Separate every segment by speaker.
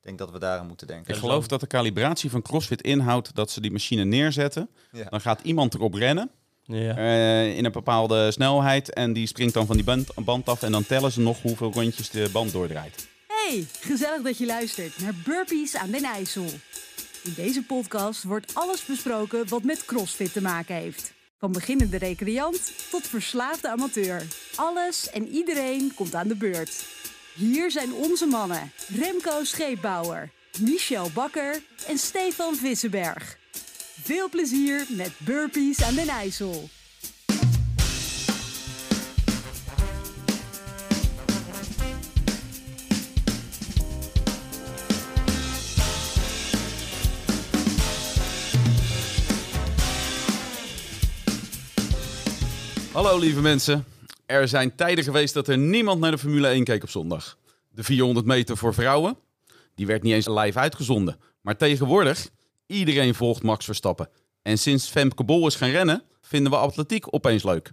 Speaker 1: denk dat we daaraan moeten denken.
Speaker 2: Ik geloof dat de kalibratie van CrossFit inhoudt dat ze die machine neerzetten.
Speaker 1: Ja.
Speaker 2: Dan gaat iemand erop rennen
Speaker 3: Ja.
Speaker 2: eh, in een bepaalde snelheid. En die springt dan van die band, band af. En dan tellen ze nog hoeveel rondjes de band doordraait.
Speaker 4: Hey, gezellig dat je luistert naar Burpees aan den IJssel. In deze podcast wordt alles besproken wat met CrossFit te maken heeft. Van beginnende recreant tot verslaafde amateur. Alles en iedereen komt aan de beurt. Hier zijn onze mannen Remco Scheepbouwer, Michel Bakker en Stefan Vissenberg. Veel plezier met Burpees aan den IJssel.
Speaker 2: Hallo lieve mensen. Er zijn tijden geweest dat er niemand naar de Formule 1 keek op zondag. De 400 meter voor vrouwen, die werd niet eens live uitgezonden. Maar tegenwoordig, iedereen volgt Max Verstappen. En sinds Femke Bol is gaan rennen, vinden we atletiek opeens leuk.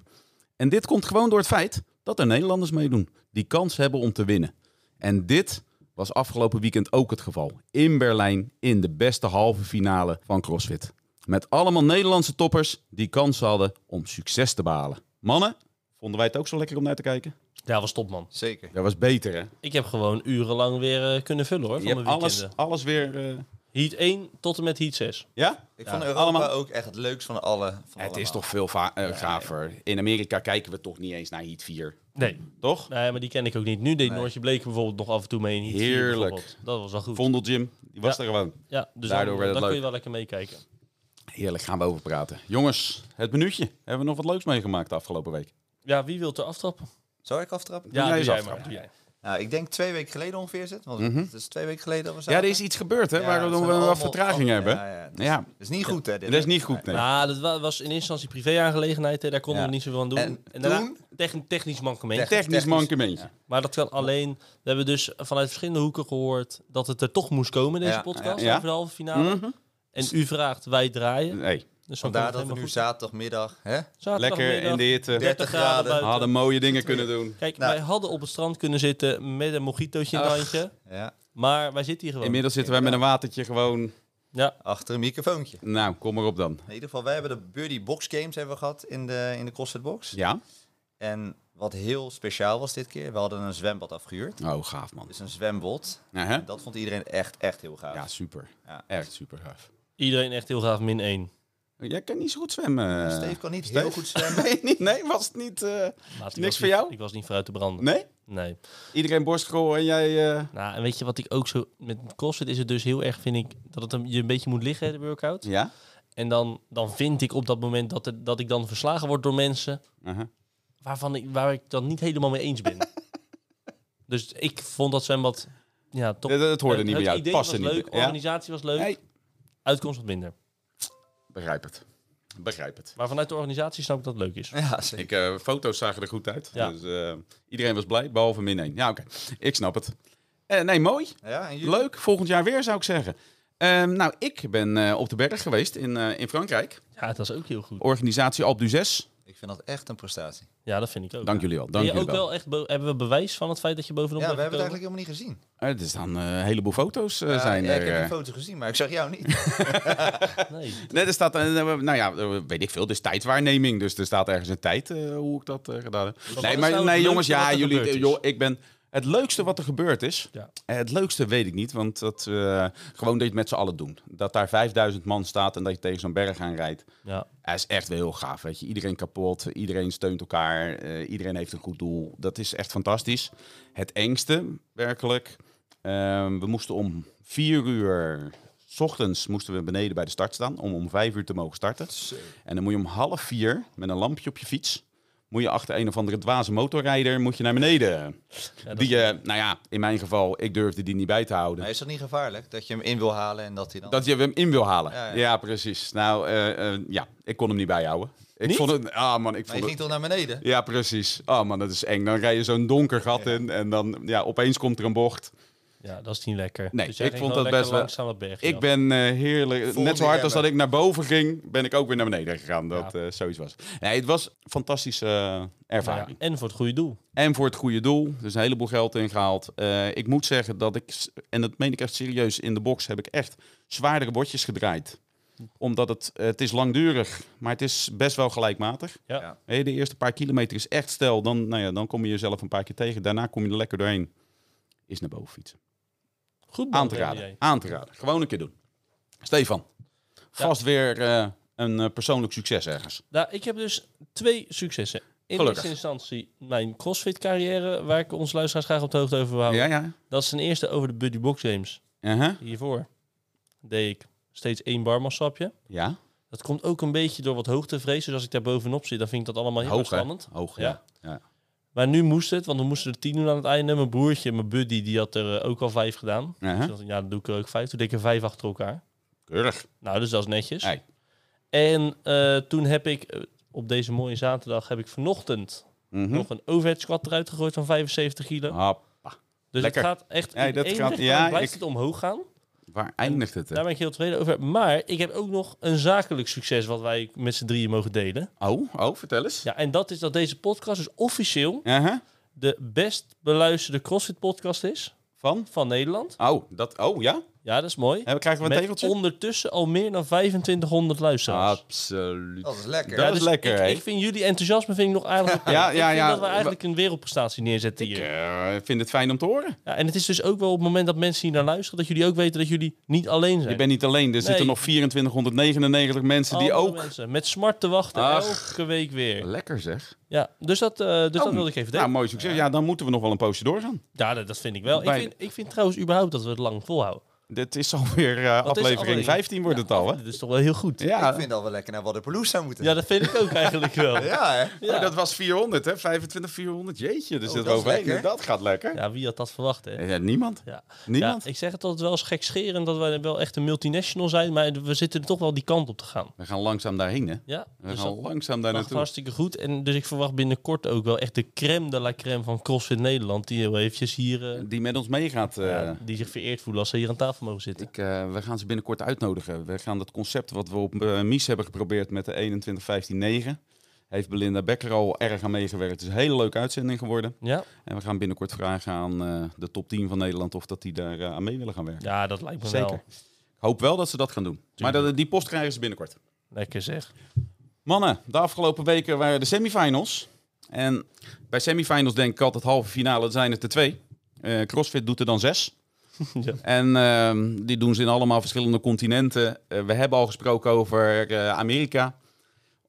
Speaker 2: En dit komt gewoon door het feit dat er Nederlanders meedoen, die kans hebben om te winnen. En dit was afgelopen weekend ook het geval. In Berlijn, in de beste halve finale van CrossFit. Met allemaal Nederlandse toppers die kans hadden om succes te behalen. Mannen, vonden wij het ook zo lekker om naar te kijken?
Speaker 3: ja, was top, man.
Speaker 1: Zeker.
Speaker 2: Dat was beter, hè?
Speaker 3: Ik heb gewoon urenlang weer eh, kunnen vullen, hoor,
Speaker 2: Je
Speaker 3: van de
Speaker 2: hebt
Speaker 3: weekenden.
Speaker 2: alles, alles weer... eh,
Speaker 3: Heat 1 tot en met Heat 6.
Speaker 2: Ja?
Speaker 1: Ik
Speaker 3: Ja,
Speaker 1: vond Europa
Speaker 2: allemaal-
Speaker 1: ook echt het leukst van alle. Van
Speaker 2: Het is
Speaker 1: allemaal.
Speaker 2: toch veel va- eh, gaver. In Amerika kijken we toch niet eens naar Heat 4,
Speaker 3: Nee.
Speaker 2: toch?
Speaker 3: Nee, maar die ken ik ook niet. Nu deed Noortje Bleek bijvoorbeeld nog af en toe mee in Heat 4
Speaker 2: Heerlijk.
Speaker 3: bijvoorbeeld. Dat was wel goed.
Speaker 2: Vondel Jim, die was
Speaker 3: Ja.
Speaker 2: er gewoon.
Speaker 3: ja, dus
Speaker 2: Daardoor
Speaker 3: daardoor
Speaker 2: werd het
Speaker 3: kun
Speaker 2: leuk.
Speaker 3: je wel lekker meekijken.
Speaker 2: Heerlijk, gaan we over praten. Jongens, het minuutje. Hebben we nog wat leuks meegemaakt de afgelopen week?
Speaker 3: Ja, wie wil er aftrappen?
Speaker 1: Zal ik aftrappen?
Speaker 3: Ja,
Speaker 2: jij
Speaker 3: doe
Speaker 2: eens
Speaker 3: jij
Speaker 2: aftrappen.
Speaker 3: maar. Doe jij.
Speaker 1: Nou, ik denk twee weken geleden ongeveer zit. Want het is twee weken geleden dat we
Speaker 2: Mhm. Ja,
Speaker 1: zaten.
Speaker 2: er is iets gebeurd, hè?
Speaker 1: Ja,
Speaker 2: waar we
Speaker 1: het
Speaker 2: dan
Speaker 1: zijn
Speaker 2: wel wat
Speaker 1: allemaal-
Speaker 2: vertraging
Speaker 1: ja,
Speaker 2: hebben.
Speaker 1: ja, het is-
Speaker 2: Ja.
Speaker 1: Dat is niet goed, hè? dit.
Speaker 2: Dat is niet goed, nee.
Speaker 3: Nou, dat wa- was in eerste instantie privé-aangelegenheid. hè, Daar konden
Speaker 1: Ja.
Speaker 3: we niet zoveel aan doen.
Speaker 1: En toen?
Speaker 3: tech- technisch mankement.
Speaker 1: Tech-
Speaker 2: Technisch
Speaker 1: technisch-
Speaker 2: mankementje.
Speaker 3: Maar dat kan alleen. We hebben dus vanuit verschillende hoeken gehoord dat het er toch moest komen, deze
Speaker 1: Ja,
Speaker 3: podcast,
Speaker 2: ja, Mhm. ja.
Speaker 3: over de halve finale. En u vraagt, wij draaien.
Speaker 2: Nee,
Speaker 3: Dus dan
Speaker 1: Vandaar
Speaker 3: komt
Speaker 1: dat
Speaker 3: het
Speaker 1: we nu
Speaker 3: helemaal
Speaker 1: zaterdagmiddag... Hè?
Speaker 3: goed. Zaterdagmiddag,
Speaker 2: lekker in de hitte.
Speaker 3: 30
Speaker 1: graden.
Speaker 3: graden buiten.
Speaker 2: Hadden mooie dingen kunnen doen.
Speaker 3: Kijk,
Speaker 1: Nou.
Speaker 3: wij hadden op het strand kunnen zitten met een mojitootje in het
Speaker 2: Ach.
Speaker 3: handje.
Speaker 1: Ja,
Speaker 3: Maar wij zitten hier gewoon.
Speaker 2: Inmiddels zitten wij met een watertje gewoon...
Speaker 3: Ja,
Speaker 1: achter een microfoontje.
Speaker 2: Nou, kom maar op dan.
Speaker 1: In ieder geval, wij hebben de Buddy Box Games hebben we gehad in de, in de CrossFit Box.
Speaker 2: Ja?
Speaker 1: En wat heel speciaal was dit keer, we hadden een zwembad afgehuurd.
Speaker 2: Oh, gaaf man.
Speaker 1: Dus een zwembad.
Speaker 2: Ja, hè?
Speaker 1: En dat vond iedereen echt, echt heel gaaf.
Speaker 2: ja super.
Speaker 1: Ja.
Speaker 2: Echt super gaaf.
Speaker 3: iedereen echt heel graag min 1.
Speaker 2: Jij kan niet zo goed zwemmen. eh,
Speaker 1: Steve kan niet
Speaker 2: Steve?
Speaker 1: heel goed zwemmen.
Speaker 2: Nee, niet- nee, was het niet... eh, Niks voor jou?
Speaker 3: Ik was niet vooruit te branden.
Speaker 2: Nee?
Speaker 3: Nee.
Speaker 2: Iedereen borstrol en jij... eh,
Speaker 3: Nou, en weet je wat ik ook zo... Met CrossFit is het dus heel erg, vind ik, dat het een, je een beetje moet liggen, de workout.
Speaker 2: Ja?
Speaker 3: En dan, dan vind ik op dat moment dat, het- dat ik dan verslagen word door mensen
Speaker 2: Uh-huh.
Speaker 3: waarvan ik, waar ik dan niet helemaal mee eens ben. dus ik vond dat zwembad... Ja, toch...
Speaker 2: Dat, dat hoorde niet bij jou.
Speaker 3: Het idee
Speaker 2: Paste
Speaker 3: was
Speaker 2: niet.
Speaker 3: leuk,
Speaker 2: bij- ja?
Speaker 3: organisatie was leuk,
Speaker 2: Nee,
Speaker 3: uitkomst wat minder.
Speaker 2: begrijp het. Begrijp het.
Speaker 3: Maar vanuit de organisatie snap ik dat het leuk is.
Speaker 1: Ja, zeker.
Speaker 2: Ik, eh, foto's zagen er goed uit.
Speaker 3: Ja.
Speaker 2: Dus eh, iedereen was blij, behalve min 1. Ja, oké. Ik snap het. Eh, nee, mooi.
Speaker 1: Ja, en jullie?
Speaker 2: Leuk. Volgend jaar weer, zou ik zeggen. Ehm, nou, ik ben eh, op de berg geweest in, eh, in Frankrijk.
Speaker 3: Ja, dat was ook heel goed.
Speaker 2: Organisatie Alpe d'Huez.
Speaker 1: Ik vind dat echt een prestatie.
Speaker 3: Ja, dat vind ik ook.
Speaker 2: Dank jullie wel. Dank
Speaker 3: Ben je
Speaker 2: jullie
Speaker 3: ook
Speaker 2: wel.
Speaker 3: wel echt bo- hebben we bewijs van het feit dat je
Speaker 1: Ja,
Speaker 3: bovenop
Speaker 1: we
Speaker 3: bent
Speaker 1: hebben het
Speaker 3: gekomen?
Speaker 1: eigenlijk helemaal niet gezien.
Speaker 2: Eh, er staan eh, een heleboel foto's eh,
Speaker 1: Ja,
Speaker 2: zijn
Speaker 1: ja,
Speaker 2: er.
Speaker 1: ik heb
Speaker 2: eh.
Speaker 1: die foto gezien, maar ik zag jou niet.
Speaker 3: Nee.
Speaker 2: Nee, er staat, eh, nou ja, eh, weet ik veel, dus tijdwaarneming. Dus er staat ergens een tijd eh, hoe ik dat eh, gedaan heb.
Speaker 3: wat
Speaker 2: nee,
Speaker 3: is
Speaker 2: maar
Speaker 3: nou het leukste
Speaker 2: nee, jongens,
Speaker 3: wat
Speaker 2: ja,
Speaker 3: er
Speaker 2: jullie,
Speaker 3: gebeurd is?
Speaker 2: joh, ik ben het leukste wat er gebeurd is.
Speaker 3: Ja.
Speaker 2: eh, het leukste weet ik niet, want dat, eh, gewoon dat je het met z'n allen doen. Dat daar 5000 man staat en dat je tegen zo'n berg aan rijdt.
Speaker 3: Ja.
Speaker 2: Dat is echt wel heel gaaf, weet je. Iedereen kapot, iedereen steunt elkaar, eh, iedereen heeft een goed doel. Dat is echt fantastisch. Het engste, werkelijk. ehm, we moesten om vier uur... 's ochtends moesten we beneden bij de start staan om om vijf uur te mogen starten. En dan moet je om half vier met een lampje op je fiets... moet je achter een of andere dwaze motorrijder moet je naar beneden.
Speaker 3: dat-
Speaker 2: die, je, nou ja, in mijn geval, ik durfde die niet bij te houden.
Speaker 1: Maar is dat niet gevaarlijk? Dat je hem in wil halen en dat hij dan...
Speaker 2: Dat je hem in wil halen. Ja,
Speaker 1: Oh. Ja, ja.
Speaker 2: precies. Nou, eh, eh, ja, ik kon hem niet bijhouden. Ik vond het. Ah, man, ik
Speaker 1: Maar je
Speaker 2: vond
Speaker 1: ging
Speaker 2: het.
Speaker 1: toch naar beneden?
Speaker 2: Ja, precies. Ah, man, dat is eng. Dan rij je zo'n donker gat in en dan ja, opeens komt er een bocht.
Speaker 3: Ja, dat is niet lekker. Dus
Speaker 2: Nee,
Speaker 3: jij ging
Speaker 2: ik vond
Speaker 3: gewoon
Speaker 2: dat
Speaker 3: lekker
Speaker 2: best wel-
Speaker 3: langzaam dat bergje
Speaker 2: Ik
Speaker 3: af.
Speaker 2: ben eh, heerlijk.
Speaker 1: Volgende
Speaker 2: Net zo hard
Speaker 1: keer
Speaker 2: als dat ik naar boven ging, ben ik ook weer naar beneden gegaan. Dat
Speaker 3: Ja.
Speaker 2: eh, zoiets was. Nee, het was een fantastische eh,
Speaker 3: Nou ja,
Speaker 2: ervaring.
Speaker 3: en voor het goede doel.
Speaker 2: En voor het goede doel. Dus een heleboel geld ingehaald. Eh, ik moet zeggen dat ik, s- en dat meen ik echt serieus, in de box heb ik echt zwaardere bordjes gedraaid. Omdat het, eh, het is langdurig, maar het is best wel gelijkmatig.
Speaker 3: Ja.
Speaker 1: Ja.
Speaker 2: Weet je, De eerste paar kilometer is echt stel. Dan, nou ja, dan kom je jezelf een paar keer tegen. Daarna kom je er lekker doorheen. Is naar boven fietsen.
Speaker 3: Goed man,
Speaker 2: Aan te raden.
Speaker 3: jij.
Speaker 2: Aan te raden. Gewoon een keer doen. Stefan, vast weer eh, een eh, persoonlijk succes ergens.
Speaker 3: Nou, ik heb dus twee successen. In
Speaker 2: Gelukkig.
Speaker 3: eerste instantie mijn CrossFit carrière, waar ik ons luisteraars graag op de hoogte over wil houden.
Speaker 2: Ja, ja.
Speaker 3: Dat is ten eerste over de Buddy Box Games.
Speaker 2: Uh-huh.
Speaker 3: Hiervoor deed ik steeds één barmassapje.
Speaker 2: Ja,
Speaker 3: Dat komt ook een beetje door wat hoogtevrees. Dus als ik daar bovenop zit, dan vind ik dat allemaal heel erg
Speaker 2: hoog hè?
Speaker 3: spannend.
Speaker 2: Hoog,
Speaker 3: Ja.
Speaker 2: ja. ja.
Speaker 3: Maar nu moest het, want we moesten er tien doen aan het einde. Mijn broertje, mijn buddy, die had er eh, ook al vijf gedaan. Dus ik
Speaker 2: Uh-huh.
Speaker 3: dacht, ja, dan doe ik er ook vijf. Toen deed ik er vijf achter elkaar.
Speaker 2: Keurig.
Speaker 3: Nou, dus dat is netjes.
Speaker 2: Hey.
Speaker 3: En eh, toen heb ik, eh, op deze mooie zaterdag, heb ik vanochtend
Speaker 2: Mhm.
Speaker 3: nog een overhead squat eruit gegooid van 75 kilo.
Speaker 2: Happa.
Speaker 3: dus
Speaker 2: Ah, lekker.
Speaker 3: het gaat echt,
Speaker 2: Ja,
Speaker 3: in
Speaker 2: dat
Speaker 3: één
Speaker 2: gaat-
Speaker 3: richting
Speaker 2: ja,
Speaker 3: blijft
Speaker 2: ik-
Speaker 3: het omhoog gaan.
Speaker 2: Waar eindigt het? hè?
Speaker 3: Daar ben ik heel tevreden over. Maar ik heb ook nog een zakelijk succes wat wij met z'n drieën mogen delen.
Speaker 2: Oh, oh, vertel eens.
Speaker 3: Ja, en dat is dat deze podcast dus officieel
Speaker 2: Uh-huh.
Speaker 3: de best beluisterde CrossFit podcast is
Speaker 2: Van?
Speaker 3: van Nederland.
Speaker 2: Oh, dat, oh ja?
Speaker 3: Ja, dat is mooi.
Speaker 2: Eh, Krijgen we een
Speaker 3: Met
Speaker 2: tegeltje?
Speaker 3: ondertussen al meer dan 2500 luisteraars. dus
Speaker 2: Absoluut.
Speaker 1: Dat is lekker.
Speaker 2: Ja.
Speaker 1: Ja.
Speaker 2: dat is lekker, hè?
Speaker 3: Ik, ik vind jullie enthousiasme vind ik nog aardig. ja, ja, ja. dat we eigenlijk een wereldprestatie neerzetten
Speaker 2: Ik
Speaker 3: hier.
Speaker 2: eh, vind het fijn om te horen.
Speaker 3: Ja, en het is dus ook wel op het moment dat mensen hier naar luisteren, dat jullie ook weten dat jullie niet alleen zijn.
Speaker 2: Je bent niet alleen. Er zitten
Speaker 3: Nee.
Speaker 2: nog 2499 mensen die
Speaker 3: Andere
Speaker 2: ook...
Speaker 3: mensen met smart te wachten
Speaker 2: Ach.
Speaker 3: elke week weer.
Speaker 2: Lekker zeg.
Speaker 3: Ja, dus dat, eh, dus
Speaker 2: Oh,
Speaker 3: dat wilde ik even
Speaker 2: Nou,
Speaker 3: delen.
Speaker 2: mooi succes. Ja, dan moeten we nog wel een poosje doorgaan.
Speaker 3: ja, dat, dat vind ik wel. Ik
Speaker 2: Bij-
Speaker 3: vind, ik vind trouwens überhaupt dat we het lang volhouden.
Speaker 2: Dit is alweer eh, aflevering
Speaker 3: aflevering-
Speaker 2: 15 wordt het al, hè?
Speaker 3: Dat is toch wel heel goed.
Speaker 1: Ik
Speaker 2: Ja.
Speaker 1: vind dat we lekker naar Waddenpaloes zou moeten.
Speaker 3: Ja, dat vind ik ook eigenlijk wel. Ja,
Speaker 1: Ja, hè?
Speaker 2: Oh, dat was 400, hè? 25, 400. Jeetje, dus
Speaker 1: Oh,
Speaker 2: zit
Speaker 1: dat is
Speaker 2: overheen.
Speaker 1: lekker.
Speaker 2: Dat gaat lekker.
Speaker 3: Ja, wie had dat verwacht, hè?
Speaker 2: Eh, niemand.
Speaker 3: Ja.
Speaker 2: Niemand.
Speaker 3: Ja, ik zeg het altijd wel eens gekscherend dat wij wel echt een multinational zijn, maar we zitten er toch wel die kant op te gaan.
Speaker 2: We gaan langzaam daarheen, hè?
Speaker 3: Ja,
Speaker 2: We
Speaker 3: dus
Speaker 2: gaan
Speaker 3: dat
Speaker 2: langzaam daar
Speaker 3: mag
Speaker 2: naartoe.
Speaker 3: hartstikke goed. En dus ik verwacht binnenkort ook wel echt de crème de la crème van CrossFit Nederland, die heel eventjes hier, eh,
Speaker 2: Die met ons meegaat. eh,
Speaker 3: ja, die zich vereerd voelen als ze hier aan tafel mogen zitten.
Speaker 2: Ik, eh, we gaan ze binnenkort uitnodigen. We gaan dat concept wat we op eh, Mies hebben geprobeerd met de 21-15-9. Heeft Belinda Becker al erg aan meegewerkt. Het is een hele leuke uitzending geworden.
Speaker 3: Ja?
Speaker 2: En we gaan binnenkort vragen aan eh, de top 10 van Nederland of dat die daar eh, aan mee willen gaan werken.
Speaker 3: ja, dat lijkt me
Speaker 2: Zeker.
Speaker 3: wel.
Speaker 2: Ik hoop wel dat ze dat gaan doen. Maar dat, die post krijgen ze binnenkort.
Speaker 3: Lekker zeg.
Speaker 2: Mannen, de afgelopen weken waren de semifinals. En bij semifinals denk ik altijd halve finale zijn het er twee. Eh, CrossFit doet er dan zes.
Speaker 3: Ja.
Speaker 2: En ehm, die doen ze in allemaal verschillende continenten. Eh, we hebben al gesproken over eh, Amerika.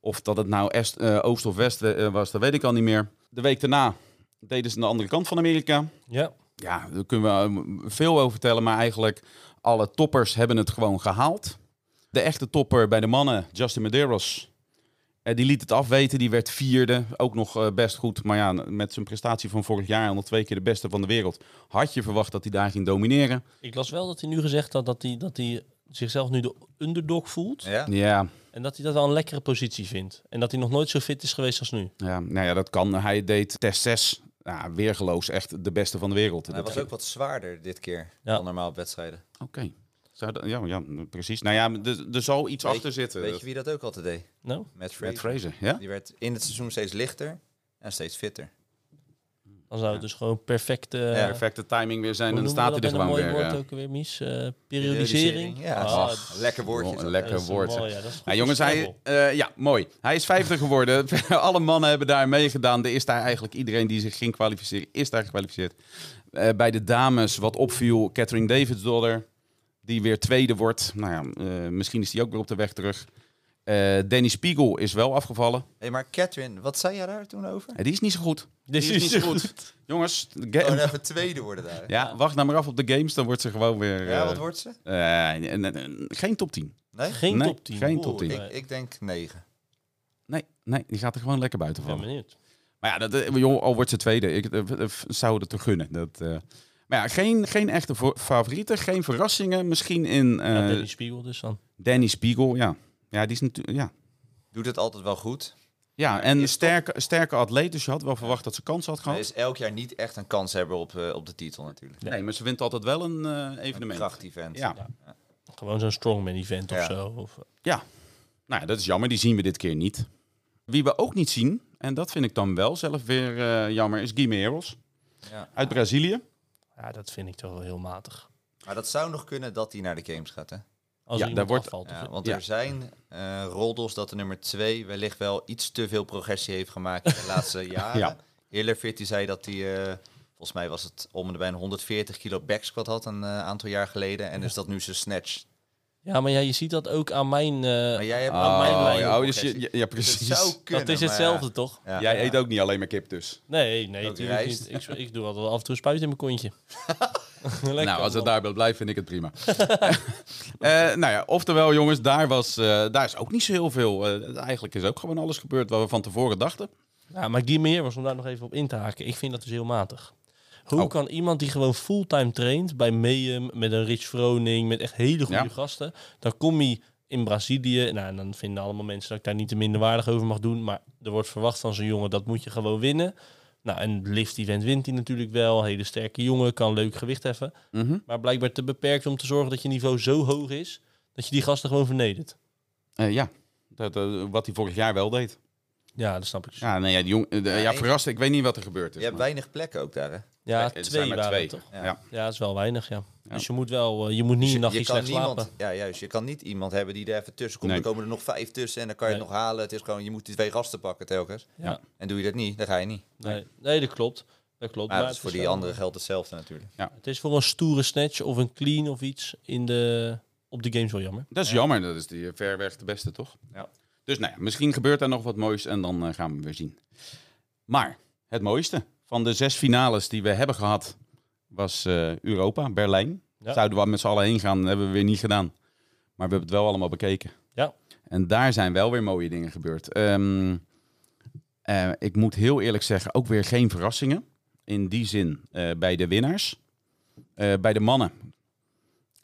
Speaker 2: Of dat het nou est, eh, oost of west eh, was, dat weet ik al niet meer. De week daarna deden ze aan de andere kant van Amerika.
Speaker 3: Ja,
Speaker 2: Ja, daar kunnen we eh, veel over vertellen. Maar eigenlijk alle toppers hebben het gewoon gehaald. De echte topper bij de mannen, Justin Medeiros. eh, Die liet het afweten, die werd vierde. Ook nog eh, best goed. Maar ja, met zijn prestatie van vorig jaar, al nog twee keer de beste van de wereld. Had je verwacht dat hij daar ging domineren?
Speaker 3: ik las wel dat hij nu gezegd had dat hij, dat hij zichzelf nu de underdog voelt.
Speaker 1: Ja.
Speaker 2: Ja,
Speaker 3: En dat hij dat wel een lekkere positie vindt. En dat hij nog nooit zo fit is geweest als nu.
Speaker 2: ja, nou ja dat kan. Hij deed test 6. Ja, weergeloos, echt de beste van de wereld.
Speaker 1: Hij
Speaker 2: Dat-
Speaker 1: was ook wat zwaarder dit keer
Speaker 3: Ja.
Speaker 1: dan normaal op wedstrijden.
Speaker 2: Oké. Zou dat- Ja, ja, precies. Nou ja, er, er zal iets
Speaker 1: Weet-
Speaker 2: achter zitten.
Speaker 1: Weet je wie dat ook altijd deed?
Speaker 3: Nou,
Speaker 1: Matt Fraser.
Speaker 2: Matt Fraser, ja?
Speaker 1: Die werd in het seizoen steeds lichter en steeds fitter.
Speaker 3: dan zou het dus gewoon perfect... eh,
Speaker 1: Ja,
Speaker 2: perfecte timing weer zijn.
Speaker 3: Hoe
Speaker 2: En dan
Speaker 3: noemen
Speaker 2: staat
Speaker 3: we
Speaker 2: hij er
Speaker 3: dat met
Speaker 2: gewoon
Speaker 3: een
Speaker 2: weer.
Speaker 3: mooi
Speaker 2: eh.
Speaker 3: woord ook weer, Mies? Eh, periodisering.
Speaker 1: Ja,
Speaker 3: Ah,
Speaker 1: dat is een lekker woordje.
Speaker 2: Een
Speaker 1: is dat.
Speaker 2: lekker
Speaker 3: dat is
Speaker 2: woord.
Speaker 3: mooi, ja, dat is goed
Speaker 2: Ja, jongens, hij,
Speaker 3: voorspelbaar.
Speaker 2: eh, ja, mooi. Hij is 50 geworden. Alle mannen hebben daar meegedaan. Er is daar eigenlijk iedereen die zich ging kwalificeren, is daar gekwalificeerd. Eh, bij de dames, wat opviel, Catherine Davids dollar, die weer tweede wordt. Nou ja, eh, misschien is die ook weer op de weg terug. Eh, Danny Spiegel is wel afgevallen.
Speaker 1: Hey, maar Catherine, wat zei jij daar toen over?
Speaker 2: Eh, die is niet zo goed.
Speaker 3: Dit
Speaker 2: Die is niet zo goed. Jongens, de ga-
Speaker 3: Oh,
Speaker 1: Gewoon Oh, even tweede worden daar. Ja,
Speaker 2: ja, wacht nou maar af op de games. Dan wordt ze gewoon weer... eh,
Speaker 1: wat wordt ze?
Speaker 2: eh, n- n- n- geen top 10.
Speaker 1: Nee?
Speaker 3: Geen
Speaker 2: Nee,
Speaker 3: top 10.
Speaker 2: geen
Speaker 3: Oeh,
Speaker 2: top 10.
Speaker 3: nee.
Speaker 1: Ik, ik denk negen.
Speaker 2: Nee, nee, die gaat er gewoon lekker buiten
Speaker 3: Ik ben
Speaker 2: vallen.
Speaker 3: benieuwd.
Speaker 2: Maar ja, dat, eh, joh, al wordt ze tweede. Ik eh, eh, zou het te gunnen. Dat, eh. Maar ja, geen, geen echte vo- favorieten, geen verrassingen. Misschien in eh,
Speaker 3: ja, Danny
Speaker 2: Danny.
Speaker 3: Spiegel dus dan.
Speaker 2: Spiegel, ja. Ja, die is natuurlijk... Ja.
Speaker 1: Doet het altijd wel goed.
Speaker 2: Ja, en
Speaker 1: is
Speaker 2: sterke, sterke atleet, dus je had wel verwacht dat ze kans had
Speaker 1: Hij
Speaker 2: gehad.
Speaker 1: is elk jaar niet echt een kans hebben op, eh, op de titel natuurlijk.
Speaker 2: Nee, maar ze wint altijd wel een eh,
Speaker 1: Een
Speaker 2: evenement.
Speaker 1: kracht-event.
Speaker 2: Ja.
Speaker 3: Gewoon zo'n strongman event of
Speaker 1: Ja.
Speaker 3: zo. Of,
Speaker 2: Ja, nou ja, dat is jammer. Die zien we dit keer niet. Wie we ook niet zien, en dat vind ik dan wel zelf weer eh, jammer, is Guimeros
Speaker 1: Ja.
Speaker 2: uit Brazilië.
Speaker 3: ja, dat vind ik toch wel heel matig.
Speaker 1: Maar dat zou nog kunnen dat hij naar de games gaat, hè?
Speaker 3: Als
Speaker 2: Ja,
Speaker 3: er iemand
Speaker 2: daar wordt-
Speaker 3: afvalt. of-
Speaker 1: Ja, want
Speaker 2: Ja.
Speaker 1: er zijn eh roddels dat de nummer 2 wellicht wel iets te veel progressie heeft gemaakt in de laatste jaren.
Speaker 2: Ja.
Speaker 1: Ja. Hillerfit die zei dat hij, eh, volgens mij was het om en bij een 140 kilo back squat had een eh, aantal jaar geleden. En is dat nu zijn snatch.
Speaker 3: Ja, maar ja, je ziet dat ook aan mijn... eh,
Speaker 1: Maar jij hebt
Speaker 3: aan mijn
Speaker 1: Oh,
Speaker 3: lijn.
Speaker 1: ja,
Speaker 2: ja, dus je-
Speaker 1: progressie.
Speaker 2: ja, ja,
Speaker 1: Het
Speaker 2: precies.
Speaker 1: zou kunnen,
Speaker 3: dat is
Speaker 1: maar
Speaker 3: hetzelfde,
Speaker 2: eh,
Speaker 1: ja.
Speaker 3: toch?
Speaker 1: Ja.
Speaker 2: Jij eet ook niet alleen maar kip dus.
Speaker 3: Nee, nee,
Speaker 1: Ook
Speaker 3: tuurlijk
Speaker 1: rijst.
Speaker 3: niet. Ik, ik doe altijd af en toe spuit in mijn kontje. Lekker,
Speaker 2: nou, als het
Speaker 3: man.
Speaker 2: daarbij blijft, vind ik het prima. Eh, nou ja, oftewel jongens, daar, was, eh, daar is ook niet zo heel veel. eh, eigenlijk is ook gewoon alles gebeurd waar we van tevoren dachten.
Speaker 3: Ja, maar die meer was om daar nog even op in te haken. Ik vind dat dus heel matig. Hoe
Speaker 2: Oh.
Speaker 3: kan iemand die gewoon fulltime traint bij Meum, met een Rich Vroning, met echt hele goede
Speaker 2: Ja.
Speaker 3: gasten, dan kom je in Brazilië. Nou, en dan vinden allemaal mensen dat ik daar niet te minderwaardig over mag doen. Maar er wordt verwacht van zo'n jongen, dat moet je gewoon winnen. Nou, en lift event wint hij natuurlijk wel. Hele sterke jongen, kan leuk gewicht heffen.
Speaker 2: Mhm.
Speaker 3: Maar blijkbaar te beperkt om te zorgen dat je niveau zo hoog is, dat je die gasten gewoon vernedert.
Speaker 2: Eh, ja, dat, eh, wat hij vorig jaar wel deed.
Speaker 3: Ja, dat snap ik. dus. Ja,
Speaker 2: Ja, nee, ja, die jong, eh, de- ja,
Speaker 1: één-
Speaker 2: verrast. Ik weet niet wat er gebeurd is.
Speaker 1: Je hebt
Speaker 2: maar-
Speaker 1: weinig plekken ook daar, hè?
Speaker 3: ja
Speaker 2: Eh, er
Speaker 3: twee
Speaker 2: zijn maar
Speaker 3: waren
Speaker 2: twee.
Speaker 3: het toch?
Speaker 1: Ja.
Speaker 2: Ja.
Speaker 3: Ja, dat is wel weinig, ja.
Speaker 2: Ja.
Speaker 3: Dus je moet wel, eh, je moet niet
Speaker 1: je,
Speaker 3: een nachtje
Speaker 1: je kan
Speaker 3: slecht
Speaker 1: niemand,
Speaker 3: slapen.
Speaker 1: ja, juist, je kan niet iemand hebben die er even tussen komt.
Speaker 2: Nee.
Speaker 1: Er komen er nog vijf tussen en dan kan je het
Speaker 3: Nee.
Speaker 1: nog halen. Het is gewoon, je moet die twee gasten pakken telkens.
Speaker 3: Ja.
Speaker 1: En doe je dat niet, dan ga je niet.
Speaker 3: Nee, nee, dat klopt. Dat klopt.
Speaker 1: Maar, dat
Speaker 3: het
Speaker 1: is voor die
Speaker 3: wel-
Speaker 1: andere geldt hetzelfde natuurlijk.
Speaker 3: Het is voor een stoere snatch of een clean of iets in de, op de games wel jammer.
Speaker 2: Dat is jammer, dat is die eh, ver weg de beste, toch?
Speaker 1: Ja.
Speaker 2: Dus nou ja, misschien gebeurt daar nog wat moois en dan eh, gaan we hem weer zien. Maar het mooiste van de zes finales die we hebben gehad was eh, Europa, Berlijn.
Speaker 3: Ja.
Speaker 2: Zouden we met z'n allen heen gaan, dat hebben we weer niet gedaan. Maar we hebben het wel allemaal bekeken.
Speaker 3: Ja.
Speaker 2: En daar zijn wel weer mooie dingen gebeurd. Ehm, eh, ik moet heel eerlijk zeggen, ook weer geen verrassingen. In die zin eh, bij de winnaars. Eh, bij de mannen,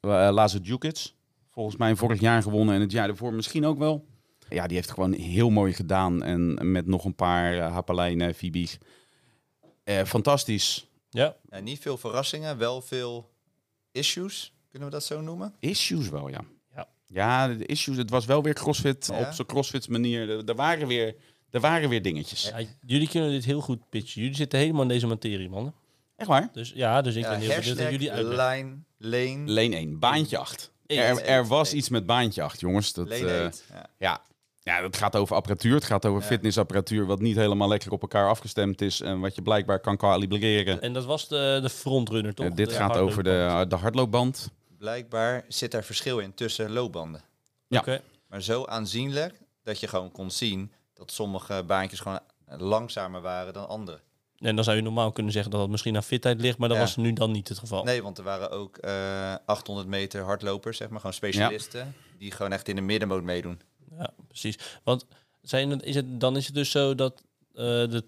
Speaker 2: uh, Lazar Djukic. Volgens mij vorig jaar gewonnen en het jaar daarvoor misschien ook wel. Ja, die heeft gewoon heel mooi gedaan. En met nog een paar eh, Hapelijnen, Fibig. Eh, fantastisch.
Speaker 3: Ja,
Speaker 1: Ja, Eh, niet veel verrassingen, wel veel issues, kunnen we dat zo noemen?
Speaker 2: Issues wel, ja.
Speaker 3: Ja.
Speaker 2: Ja, de issues. Het was wel weer crossfit
Speaker 1: Ja.
Speaker 2: op zijn crossfit manier. Er, er waren weer, er waren weer dingetjes.
Speaker 3: Ja, jullie kunnen dit heel goed pitchen. Jullie zitten helemaal in deze materie, mannen.
Speaker 2: Echt waar?
Speaker 3: Dus ja, dus ik
Speaker 1: Ja,
Speaker 3: ben heel benieuwd dat
Speaker 1: Eh, hashtag,
Speaker 3: jullie uit.
Speaker 1: line, lane,
Speaker 2: Leen 1, baantje 8.
Speaker 3: Eet,
Speaker 2: Er, er
Speaker 1: eet,
Speaker 2: was
Speaker 1: eet.
Speaker 2: iets met baantje 8, jongens. Dat,
Speaker 1: lane
Speaker 2: eh,
Speaker 1: eight. Ja.
Speaker 2: Ja. ja, dat gaat over apparatuur. Het gaat over
Speaker 1: Ja.
Speaker 2: fitnessapparatuur, wat niet helemaal lekker op elkaar afgestemd is. En wat je blijkbaar kan kalibreren.
Speaker 3: En dat was de, de frontrunner, toch?
Speaker 2: Eh, dit
Speaker 3: Eh, De
Speaker 2: gaat
Speaker 3: hardloop.
Speaker 2: over de, de hardloopband.
Speaker 1: Blijkbaar zit er verschil in tussen loopbanden.
Speaker 2: ja.
Speaker 3: Oké.
Speaker 1: Maar zo aanzienlijk dat je gewoon kon zien dat sommige baantjes gewoon langzamer waren dan andere.
Speaker 3: En dan zou je normaal kunnen zeggen dat dat misschien aan fitheid ligt, maar dat
Speaker 1: Ja.
Speaker 3: was nu dan niet het geval.
Speaker 1: Nee, want er waren ook eh 800 meter hardlopers, zeg maar, gewoon specialisten. Die gewoon echt in de middenmoot meedoen.
Speaker 3: Ja, precies. Want zijn het, is het, dan is het dus zo dat eh, de,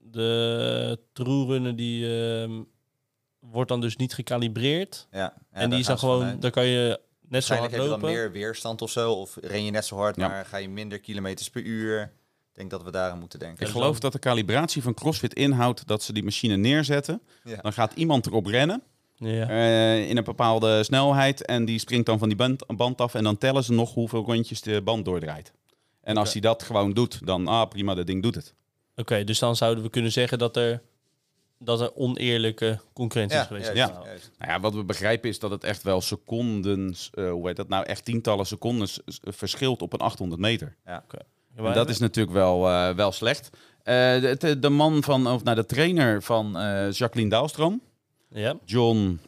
Speaker 3: de truerunnen die ehm, wordt dan dus niet gekalibreerd.
Speaker 1: Ja, ja, daar
Speaker 3: en die is
Speaker 1: gaan
Speaker 3: dan
Speaker 1: ze
Speaker 3: gewoon,
Speaker 1: vanuit.
Speaker 3: dan kan je net zo hard
Speaker 1: Waarschijnlijk heb je dan
Speaker 3: lopen.
Speaker 1: meer weerstand of zo. Of ren je net zo hard,
Speaker 2: Ja.
Speaker 1: maar ga je minder kilometers per uur. Ik denk dat we daar aan moeten denken.
Speaker 2: Ik geloof dat de kalibratie van CrossFit inhoudt dat ze die machine neerzetten.
Speaker 1: Ja.
Speaker 3: Nou,
Speaker 2: Dan gaat iemand erop rennen
Speaker 3: Ja.
Speaker 2: eh, in een bepaalde snelheid. En die springt dan van die band, band af. En dan tellen ze nog hoeveel rondjes de band doordraait. En als
Speaker 3: Oké.
Speaker 2: hij dat gewoon doet, dan ah, prima, dat ding doet het.
Speaker 3: Oké, dus dan zouden we kunnen zeggen dat er, dat er oneerlijke concurrentie is geweest.
Speaker 1: juist,
Speaker 2: Ja.
Speaker 1: juist.
Speaker 2: Nou ja, wat we begrijpen is dat het echt wel seconden, eh, hoe heet dat nou, echt tientallen seconden s- s- verschilt op een 800 meter.
Speaker 3: Ja,
Speaker 2: En
Speaker 3: maar-
Speaker 2: dat is natuurlijk wel, eh, wel slecht. Eh, de, de- de man van, of nou, de trainer van eh, Jacqueline Daalstroom,
Speaker 3: ja.
Speaker 2: John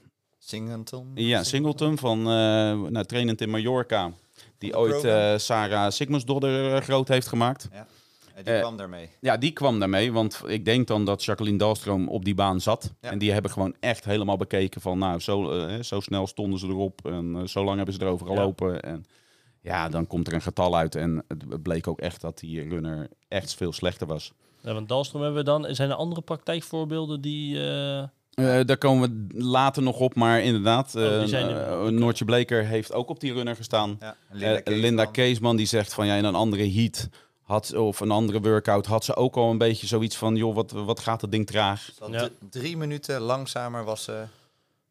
Speaker 1: Singleton?
Speaker 2: Ja, Singleton van eh nou, trainend in Mallorca. Die
Speaker 1: de
Speaker 2: ooit
Speaker 1: program.
Speaker 2: eh, Sarah Sigmundsdottir eh, groot heeft gemaakt.
Speaker 1: Ja, die
Speaker 2: Eh,
Speaker 1: kwam daarmee.
Speaker 2: Ja, die kwam daarmee. Want ik denk dan dat Jacqueline Dalstroom op die baan zat.
Speaker 1: Ja.
Speaker 2: En die hebben gewoon echt helemaal bekeken van... Nou, zo, eh, hè, zo snel stonden ze erop. En eh, zo lang hebben ze erover
Speaker 3: Ja.
Speaker 2: gelopen. En ja, dan komt er een getal uit. En het bleek ook echt dat die runner echt veel slechter was.
Speaker 3: Ja, want Dalstrom hebben we dan. Zijn er andere praktijkvoorbeelden die... eh,
Speaker 2: Eh, daar komen we later nog op. Maar inderdaad,
Speaker 3: Oh, die
Speaker 2: eh,
Speaker 3: zijn er
Speaker 2: eh,
Speaker 3: wel. Oké.
Speaker 2: Noortje Bleker heeft ook op die runner gestaan.
Speaker 1: Ja, en
Speaker 2: Eh, Linda,
Speaker 1: Keesman.
Speaker 2: Keesman die zegt van ja, in een andere heat had, of een andere workout, had ze ook al een beetje zoiets van, joh, wat, wat gaat dat ding traag?
Speaker 1: Dat
Speaker 3: Ja.
Speaker 1: d- Drie minuten langzamer was ze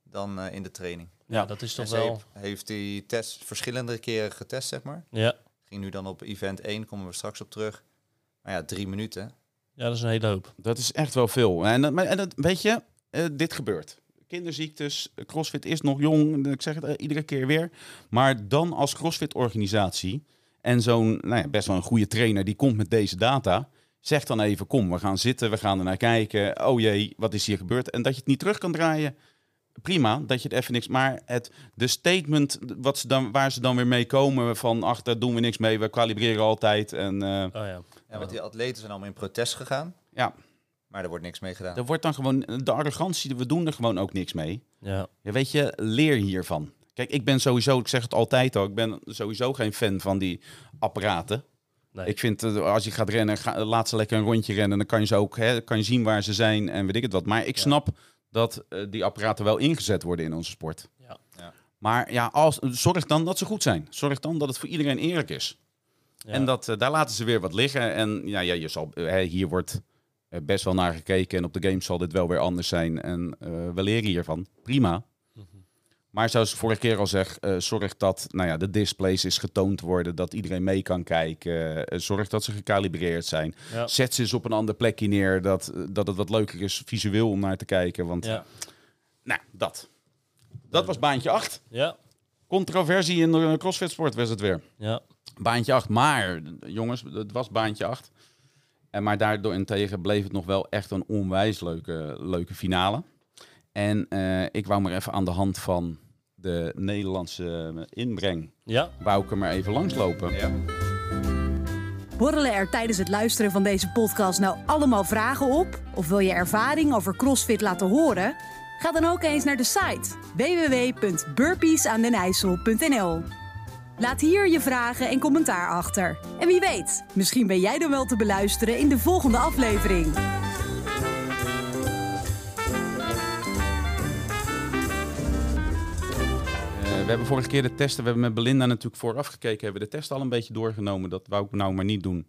Speaker 1: dan eh, in de training.
Speaker 3: Ja, dat is toch
Speaker 1: En ze
Speaker 3: wel...
Speaker 1: heeft- heeft die test verschillende keren getest, zeg maar.
Speaker 3: Ja.
Speaker 1: Ging nu dan op event 1, komen we straks op terug. Maar ja, drie minuten.
Speaker 3: ja, dat is een hele hoop.
Speaker 2: Dat is echt wel veel. En, dat- maar- en dat, weet je, eh, dit gebeurt. Kinderziektes, eh, CrossFit is nog jong, ik zeg het eh, iedere keer weer. Maar dan als CrossFit-organisatie en zo'n nou ja, best wel een goede trainer die komt met deze data, zegt dan even: kom, we gaan zitten, we gaan er naar kijken. Oh jee, wat is hier gebeurd? En dat je het niet terug kan draaien. Prima, dat je het even niks. Maar het, de statement wat ze dan, waar ze dan weer mee komen: van ach, daar doen we niks mee, we kalibreren altijd. En eh,
Speaker 3: Oh ja.
Speaker 1: Ja, want die atleten zijn allemaal in protest gegaan.
Speaker 2: ja,
Speaker 1: Maar er wordt niks mee gedaan.
Speaker 2: er wordt dan gewoon de arrogantie, we doen er gewoon ook niks mee.
Speaker 3: Ja.
Speaker 2: Ja, weet je, leer hiervan. Kijk, ik ben sowieso, ik zeg het altijd al, ik ben sowieso geen fan van die apparaten.
Speaker 3: Nee.
Speaker 2: Ik vind, eh, als je gaat rennen, ga, laat ze lekker een rondje rennen. Dan kan je ze ook, hè, kan je zien waar ze zijn en weet ik het wat. Maar ik
Speaker 3: Ja.
Speaker 2: snap dat eh, die apparaten wel ingezet worden in onze sport.
Speaker 3: Ja.
Speaker 1: Ja.
Speaker 2: Maar ja, als, zorg dan dat ze goed zijn. Zorg dan dat het voor iedereen eerlijk is.
Speaker 3: Ja.
Speaker 2: En dat, eh, daar laten ze weer wat liggen. En ja, ja je zal, eh, hè, hier wordt eh, best wel naar gekeken. En op de games zal dit wel weer anders zijn. En eh, we leren hiervan. Prima.
Speaker 3: Mhm.
Speaker 2: Maar zoals ik vorige keer al zeg, eh, zorg dat nou ja, de displays is getoond worden. Dat iedereen mee kan kijken. Eh, zorg dat ze gekalibreerd zijn.
Speaker 3: Ja.
Speaker 2: Zet ze eens op een ander plekje neer. Dat, eh, dat het wat leuker is visueel om naar te kijken. Want
Speaker 3: Ja.
Speaker 2: nou, dat. Dat was baantje 8.
Speaker 3: Ja.
Speaker 2: Controversie in de CrossFit sport was het weer.
Speaker 3: Ja.
Speaker 2: Baantje 8, maar jongens, het was baantje 8. En maar daardoor en tegen bleef het nog wel echt een onwijs leuke, leuke finale. En eh, ik wou maar even aan de hand van de Nederlandse eh, inbreng,
Speaker 3: Ja.
Speaker 2: wou ik er maar even langslopen. Eh,
Speaker 1: Ja.
Speaker 4: Borrelen er tijdens het luisteren van deze podcast nou allemaal vragen op? Of wil je ervaring over CrossFit laten horen? Ga dan ook eens naar de site www.burpeesaandenijssel.nl Laat hier je vragen en commentaar achter. En wie weet, misschien ben jij dan wel te beluisteren in de volgende aflevering.
Speaker 2: Eh, we hebben vorige keer de testen, we hebben met Belinda natuurlijk vooraf gekeken, hebben we de test al een beetje doorgenomen. Dat wou ik nou maar niet doen.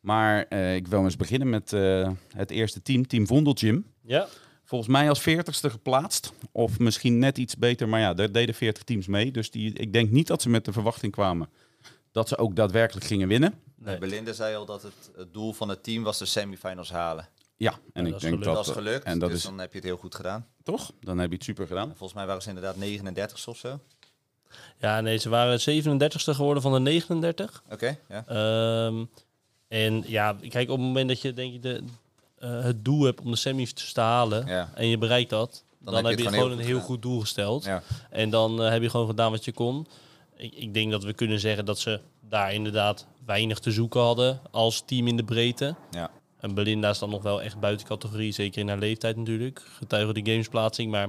Speaker 2: Maar eh, ik wil eens beginnen met eh, het eerste team, Team Vondelgym.
Speaker 3: Ja.
Speaker 2: Volgens mij als 40ste geplaatst. Of misschien net iets beter. Maar ja, daar deden 40 teams mee. Dus die, ik denk niet dat ze met de verwachting kwamen dat ze ook daadwerkelijk gingen winnen.
Speaker 3: Nee.
Speaker 1: Belinda zei al dat het, het doel van het team was de semifinals halen.
Speaker 2: Ja,
Speaker 3: Ja,
Speaker 2: en ik
Speaker 3: dat is gelukt.
Speaker 2: denk
Speaker 1: Dat,
Speaker 2: dat. eh,
Speaker 1: is gelukt,
Speaker 2: En dat
Speaker 1: dus
Speaker 2: is
Speaker 1: dan heb je het heel goed gedaan.
Speaker 2: toch? Dan heb je het super gedaan.
Speaker 1: En volgens mij waren ze inderdaad 39 of zo.
Speaker 3: Ja, nee, ze waren 37ste geworden van de 39.
Speaker 1: Oké, ja.
Speaker 3: Ehm, en ja, kijk, op het moment dat je denk ik de, eh, het doel hebt om de semis te halen
Speaker 1: Ja.
Speaker 3: en je bereikt dat, dan,
Speaker 1: heb je
Speaker 3: heb je
Speaker 1: het
Speaker 3: gewoon,
Speaker 1: gewoon heel
Speaker 3: een
Speaker 1: goed gedaan.
Speaker 3: heel goed doel gesteld.
Speaker 1: ja.
Speaker 3: En dan eh, heb je gewoon gedaan wat je kon. Ik, ik denk dat we kunnen zeggen dat ze daar inderdaad weinig te zoeken hadden als team in de breedte.
Speaker 1: Ja.
Speaker 3: En Belinda is dan nog wel echt buiten categorie, zeker in haar leeftijd natuurlijk. Getuige de gamesplaatsing, maar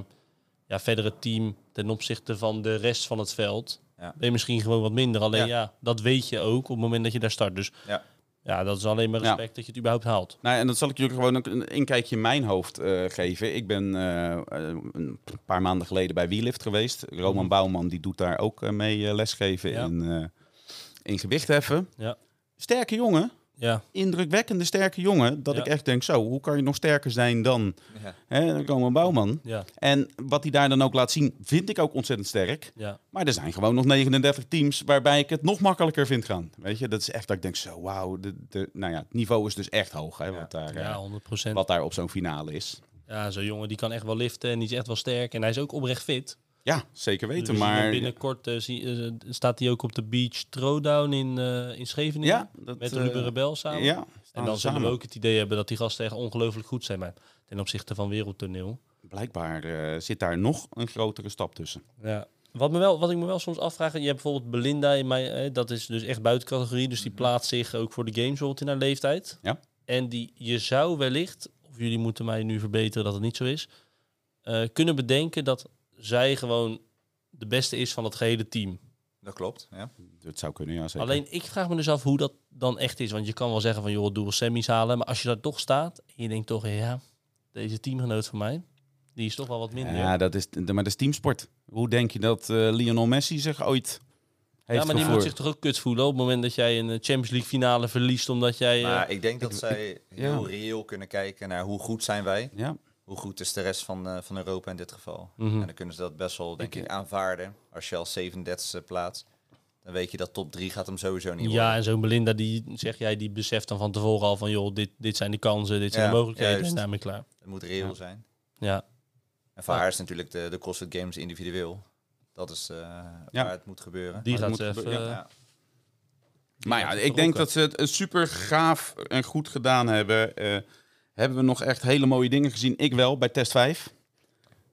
Speaker 3: ja, verder het team ten opzichte van de rest van het veld
Speaker 1: Ja.
Speaker 3: ben je misschien gewoon wat minder. Alleen
Speaker 1: Ja.
Speaker 3: ja. dat weet je ook op het moment dat je daar start. Dus
Speaker 1: Ja.
Speaker 3: ja, dat is alleen maar
Speaker 2: Ja.
Speaker 3: respect dat je het überhaupt haalt.
Speaker 2: Nou, en dat zal ik jullie gewoon ook een inkijkje in mijn hoofd eh, geven. Ik ben eh, eh, een paar maanden geleden bij Wielift geweest. Roman Bouwman die doet daar ook eh, mee eh, lesgeven
Speaker 3: Mhm. Ja.
Speaker 2: in, eh, in gewichtheffen.
Speaker 3: Ja.
Speaker 2: Sterke jongen.
Speaker 3: Ja,
Speaker 2: Indrukwekkende sterke jongen. Dat
Speaker 3: Ja.
Speaker 2: ik echt denk, zo, hoe kan je nog sterker zijn dan
Speaker 1: Ja.
Speaker 2: Hè, Roman Bouwman.
Speaker 3: ja,
Speaker 2: En wat hij daar dan ook laat zien, vind ik ook ontzettend sterk.
Speaker 3: ja.
Speaker 2: Maar er zijn gewoon nog 39 teams waarbij ik het nog makkelijker vind gaan. Weet je, dat is echt dat ik denk, zo wauw. De, de, nou ja, het niveau is dus echt hoog, hè, wat, daar, eh,
Speaker 3: Ja, 100 procent.
Speaker 2: wat daar op zo'n finale is.
Speaker 3: Ja, zo'n jongen die kan echt wel liften en die is echt wel sterk. En hij is ook oprecht fit.
Speaker 2: Ja, zeker
Speaker 3: Dus
Speaker 2: weten,
Speaker 3: we zien hem
Speaker 2: maar...
Speaker 3: Binnenkort eh, zie- eh, staat hij ook op de beach throwdown in, eh, in Scheveningen.
Speaker 2: ja, dat,
Speaker 3: met
Speaker 2: eh,
Speaker 3: Ruben Rebel samen.
Speaker 2: Ja,
Speaker 3: En
Speaker 2: staan
Speaker 3: dan
Speaker 2: ze
Speaker 3: zullen we
Speaker 2: Ah, samen.
Speaker 3: ook het idee hebben dat die gasten echt ongelooflijk goed zijn. Maar ten opzichte van wereldtoneel.
Speaker 2: Blijkbaar eh, zit daar nog een grotere stap tussen.
Speaker 3: Ja. Wat, me wel, wat ik me wel soms afvraag, je hebt bijvoorbeeld Belinda in mijn, eh, dat is dus echt buiten categorie, dus die plaatst zich ook voor de games bijvoorbeeld in haar leeftijd.
Speaker 2: Mhm. Ja.
Speaker 3: En die, je zou wellicht, of jullie moeten mij nu verbeteren dat het niet zo is, eh, kunnen bedenken dat zij gewoon de beste is van het gehele team.
Speaker 1: Dat klopt, ja.
Speaker 2: Dat zou kunnen, ja, zeker.
Speaker 3: Alleen ik vraag me dus af hoe dat dan echt is, want je kan wel zeggen van joh, doe wel semis halen, maar als je daar toch staat en je denkt toch, ja, deze teamgenoot van mij, die is toch wel wat minder.
Speaker 2: Ja, dat is, maar dat is teamsport. Hoe denk je dat eh, Lionel Messi zich ooit heeft
Speaker 3: ja, maar die
Speaker 2: gevoerd.
Speaker 3: moet zich toch ook kut voelen op het moment dat jij een eh, Champions League finale verliest omdat jij... eh,
Speaker 1: Maar ik denk dat zij heel
Speaker 2: ja.
Speaker 1: reëel kunnen kijken naar hoe goed zijn wij.
Speaker 2: Ja.
Speaker 1: Hoe goed is de rest van, eh, van Europa in dit geval.
Speaker 3: Mhm.
Speaker 1: En dan kunnen ze dat best wel, denk
Speaker 2: Ik-
Speaker 1: ik, aanvaarden. Als je als 37e plaatst, dan weet je dat top 3 gaat hem sowieso niet worden.
Speaker 3: ja, en zo'n Belinda, die zeg jij, die beseft dan van tevoren al van... joh, dit, dit zijn de kansen, dit zijn
Speaker 1: Ja,
Speaker 3: de mogelijkheden
Speaker 1: juist.
Speaker 3: en daarmee klaar.
Speaker 1: Het moet reëel
Speaker 2: Ja.
Speaker 1: zijn.
Speaker 3: Ja,
Speaker 1: En voor
Speaker 3: Ja.
Speaker 1: haar is natuurlijk de, de CrossFit Games individueel. Dat is eh, waar het moet gebeuren.
Speaker 3: die
Speaker 2: Maar
Speaker 3: gaat
Speaker 2: het
Speaker 3: ze
Speaker 2: moet
Speaker 3: even...
Speaker 2: gebeuren,
Speaker 3: eh,
Speaker 1: ja.
Speaker 2: Maar
Speaker 3: Ja,
Speaker 2: ja,
Speaker 3: dat
Speaker 2: ik denk
Speaker 3: rocken.
Speaker 2: dat ze het eh, super gaaf en goed gedaan hebben. Eh, hebben we nog echt hele mooie dingen gezien? Ik wel, bij test 5.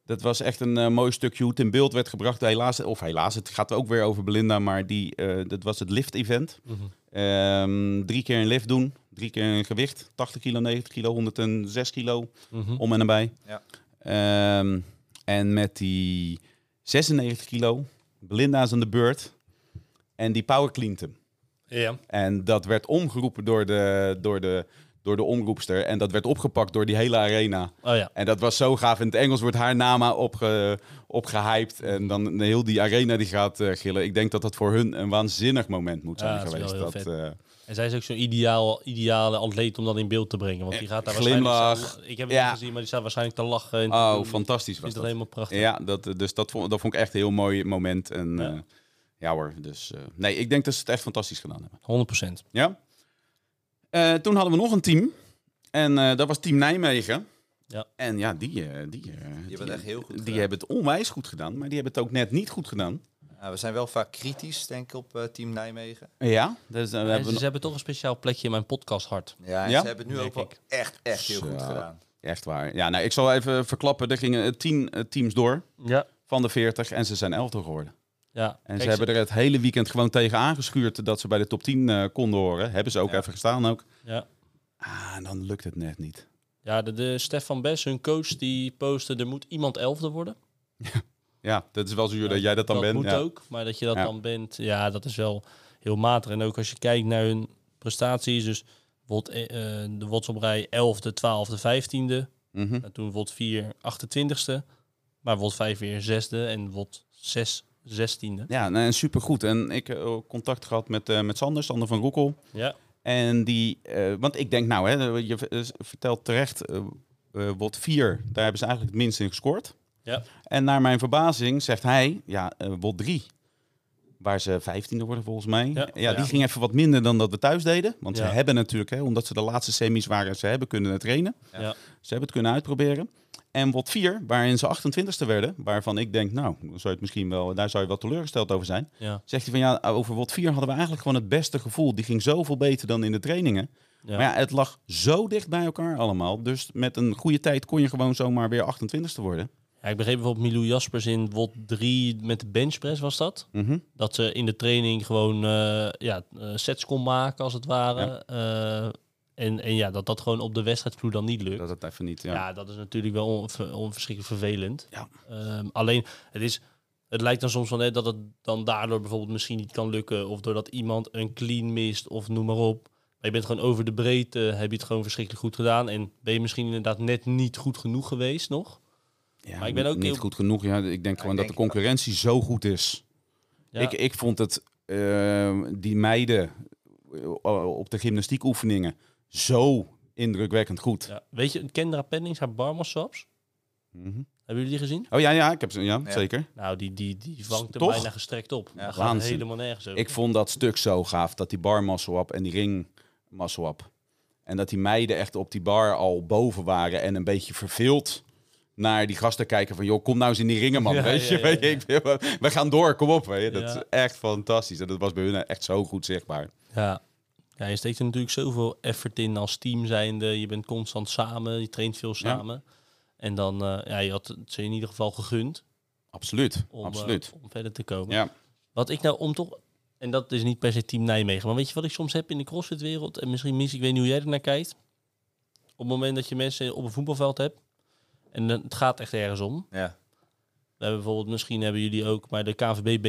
Speaker 2: Dat was echt een eh, mooi stukje hoe het in beeld werd gebracht. Helaas, of helaas, het gaat ook weer over Belinda, maar die, eh, dat was het lift-event.
Speaker 3: mhm.
Speaker 2: Ehm, drie keer een lift doen, drie keer een gewicht. 80 kilo, 90 kilo, 106 kilo,
Speaker 3: Mhm.
Speaker 2: om en nabij.
Speaker 1: Ja.
Speaker 2: Ehm, en met die 96 kilo, Belinda is aan de beurt. En die power cleant hem.
Speaker 3: Ja.
Speaker 2: En dat werd omgeroepen door de, door, de, door de omroepster. En dat werd opgepakt door die hele arena.
Speaker 3: Oh ja.
Speaker 2: En dat was zo gaaf. In het Engels wordt haar naam maar opge, opgehyped. En dan heel die arena die gaat eh, gillen. Ik denk dat dat voor hun een waanzinnig moment moet
Speaker 3: Ja,
Speaker 2: zijn
Speaker 3: dat is wel
Speaker 2: geweest.
Speaker 3: heel
Speaker 2: dat, eh,
Speaker 3: En zij is ook zo'n ideaal, ideale atleet om dat in beeld te brengen. Want die gaat daar
Speaker 2: Glimlach.
Speaker 3: waarschijnlijk... Ik heb het
Speaker 2: Ja.
Speaker 3: niet gezien, maar die staat waarschijnlijk te lachen. en te
Speaker 2: oh,
Speaker 3: doen.
Speaker 2: fantastisch
Speaker 3: Is
Speaker 2: was
Speaker 3: dat
Speaker 2: dat.
Speaker 3: helemaal prachtig.
Speaker 2: Ja, dat, eh, dus dat vond, dat vond ik echt een heel mooi moment. En
Speaker 3: Ja.
Speaker 2: ja, ja hoor, dus eh, nee, ik denk dat ze het echt fantastisch gedaan hebben.
Speaker 3: 100%.
Speaker 2: Ja. Eh, toen hadden we nog een team. En eh, dat was Team Nijmegen.
Speaker 3: Ja.
Speaker 2: En ja, die, eh, die, eh, die,
Speaker 1: hebben het echt heel goed
Speaker 2: die
Speaker 1: gedaan.
Speaker 2: hebben het onwijs goed gedaan, maar die hebben het ook net niet goed gedaan.
Speaker 1: Ja, we zijn wel vaak kritisch, denk ik, op eh, Team Nijmegen.
Speaker 2: Ja, dus, eh, we
Speaker 3: En
Speaker 2: hebben
Speaker 3: ze, ze hebben toch een speciaal plekje in mijn podcast hart.
Speaker 1: Ja, en
Speaker 2: Ja?
Speaker 1: ze hebben het nu
Speaker 3: Denk
Speaker 1: ook wel
Speaker 3: ik.
Speaker 1: echt, echt heel goed
Speaker 2: Zo.
Speaker 1: gedaan.
Speaker 2: Echt waar. Ja, nou, ik zal even verklappen. Er gingen eh, tien eh, teams door
Speaker 3: Ja.
Speaker 2: van de 40 en ze zijn elfde geworden.
Speaker 3: ja.
Speaker 2: En ze hebben er het hele weekend gewoon tegen aangeschuurd dat ze bij de top 10 eh, konden horen. Hebben ze ook
Speaker 1: Ja.
Speaker 2: even gestaan ook.
Speaker 3: Ja.
Speaker 2: Ah, en dan lukt het net niet.
Speaker 3: Ja, de, de Stefan Bes, hun coach, die postte... er moet iemand elfde worden.
Speaker 2: Ja, dat is wel zuur dat jij dat dan bent.
Speaker 3: moet
Speaker 2: ja.
Speaker 3: ook, maar dat je dat
Speaker 2: Ja.
Speaker 3: dan bent... Ja, dat is wel heel matig. En ook als je kijkt naar hun prestaties... dus bijvoorbeeld eh, eh, de Wots op rij 11e, 12e, 15e...
Speaker 2: Mhm.
Speaker 3: En toen WOT 4 28ste. Maar WOT 5 weer 6e. En WOT 6 16e.
Speaker 2: Ja, nou, en supergoed. En ik heb contact gehad met, eh, met Sander, Sander van Roekel.
Speaker 3: Ja.
Speaker 2: En die, eh, want ik denk nou, hè, je v- eh, vertelt terecht, eh eh, WOT 4, daar hebben ze eigenlijk het minst in gescoord.
Speaker 3: Ja.
Speaker 2: En naar mijn verbazing zegt hij, ja, eh WOT 3, waar ze 15e worden volgens mij. Ja,
Speaker 3: Ja.
Speaker 2: die
Speaker 1: Ja.
Speaker 2: ging even wat minder dan dat we thuis deden. Want
Speaker 3: Ja.
Speaker 2: ze hebben natuurlijk, hè, omdat ze de laatste semis waren, ze hebben kunnen trainen.
Speaker 1: Ja.
Speaker 3: Ja.
Speaker 2: Ze hebben het kunnen uitproberen. En WOT 4, waarin ze 28e werden, waarvan ik denk, nou, zou je het misschien wel, daar zou je wel teleurgesteld over zijn.
Speaker 3: Ja.
Speaker 2: Zegt hij van ja, over WOT 4 hadden we eigenlijk gewoon het beste gevoel. Die ging zoveel beter dan in de trainingen.
Speaker 3: Ja.
Speaker 2: Maar ja, het lag zo dicht bij elkaar allemaal. Dus met een goede tijd kon je gewoon zomaar weer 28ste worden.
Speaker 3: Ja, ik begreep bijvoorbeeld Milou Jaspers in WOT 3 met de benchpress was dat.
Speaker 2: Mhm.
Speaker 3: Dat ze in de training gewoon eh, ja, eh, sets kon maken als het ware. Eh, en, en ja, dat dat gewoon op de wedstrijdvloer dan niet lukt.
Speaker 2: Dat het even niet. Ja.
Speaker 3: Ja, dat is natuurlijk wel on, ver- onverschrikkelijk vervelend.
Speaker 2: Ja.
Speaker 3: Ehm, alleen, het, is, het lijkt dan soms wel net dat het dan daardoor bijvoorbeeld misschien niet kan lukken. Of doordat iemand een clean mist of noem maar op. Maar je bent gewoon over de breedte, heb je het gewoon verschrikkelijk goed gedaan. En ben je misschien inderdaad net niet goed genoeg geweest nog.
Speaker 2: Ja,
Speaker 3: Maar ik ben ook
Speaker 2: niet
Speaker 3: heel-
Speaker 2: goed genoeg. Ja, ik denk gewoon
Speaker 1: ik
Speaker 2: dat de
Speaker 1: denk-
Speaker 2: concurrentie zo goed is.
Speaker 3: Ja,
Speaker 2: Ik, ik vond het eh, die meiden eh, op de gymnastiekoefeningen zo indrukwekkend goed.
Speaker 3: ja. Weet je, Kendra Pennings, haar barmassaps,
Speaker 2: Mhm.
Speaker 3: hebben jullie die gezien?
Speaker 2: Oh ja, ja, ik heb ze. Ja,
Speaker 1: Ja.
Speaker 2: zeker.
Speaker 3: Nou, die, die, die vangt er
Speaker 2: Toch?
Speaker 3: bijna gestrekt op.
Speaker 1: Ja,
Speaker 3: Ja, gaat
Speaker 2: waanzin.
Speaker 3: helemaal nergens over.
Speaker 2: Ik vond dat stuk zo gaaf, dat die bar muscle up en die ring muscle up. En dat die meiden echt op die bar al boven waren en een beetje verveeld naar die gasten kijken van... joh, kom nou eens in die ringen, man.
Speaker 3: Ja,
Speaker 2: weet
Speaker 3: ja,
Speaker 2: je,
Speaker 3: ja,
Speaker 2: weet je,
Speaker 3: ja.
Speaker 2: ik wil- we gaan door, kom op. Weet je. Dat
Speaker 3: Ja.
Speaker 2: is echt fantastisch. En dat was bij hun echt zo goed zichtbaar.
Speaker 3: Ja. ja, je steekt er natuurlijk zoveel effort in als team zijnde. Je bent constant samen, je traint veel samen. En dan, eh, ja, je had het ze in ieder geval gegund
Speaker 2: Absoluut,
Speaker 3: om, eh,
Speaker 2: absoluut.
Speaker 3: om eh, verder te komen.
Speaker 2: ja.
Speaker 3: Wat ik nou om toch, en dat is niet per se team Nijmegen, maar weet je wat ik soms heb in de crossfitwereld? En misschien mis, ik weet niet hoe jij er naar kijkt. Op het moment dat je mensen op een voetbalveld hebt, en dan- het gaat echt ergens om.
Speaker 1: Ja.
Speaker 3: We hebben bijvoorbeeld, misschien hebben jullie ook, maar de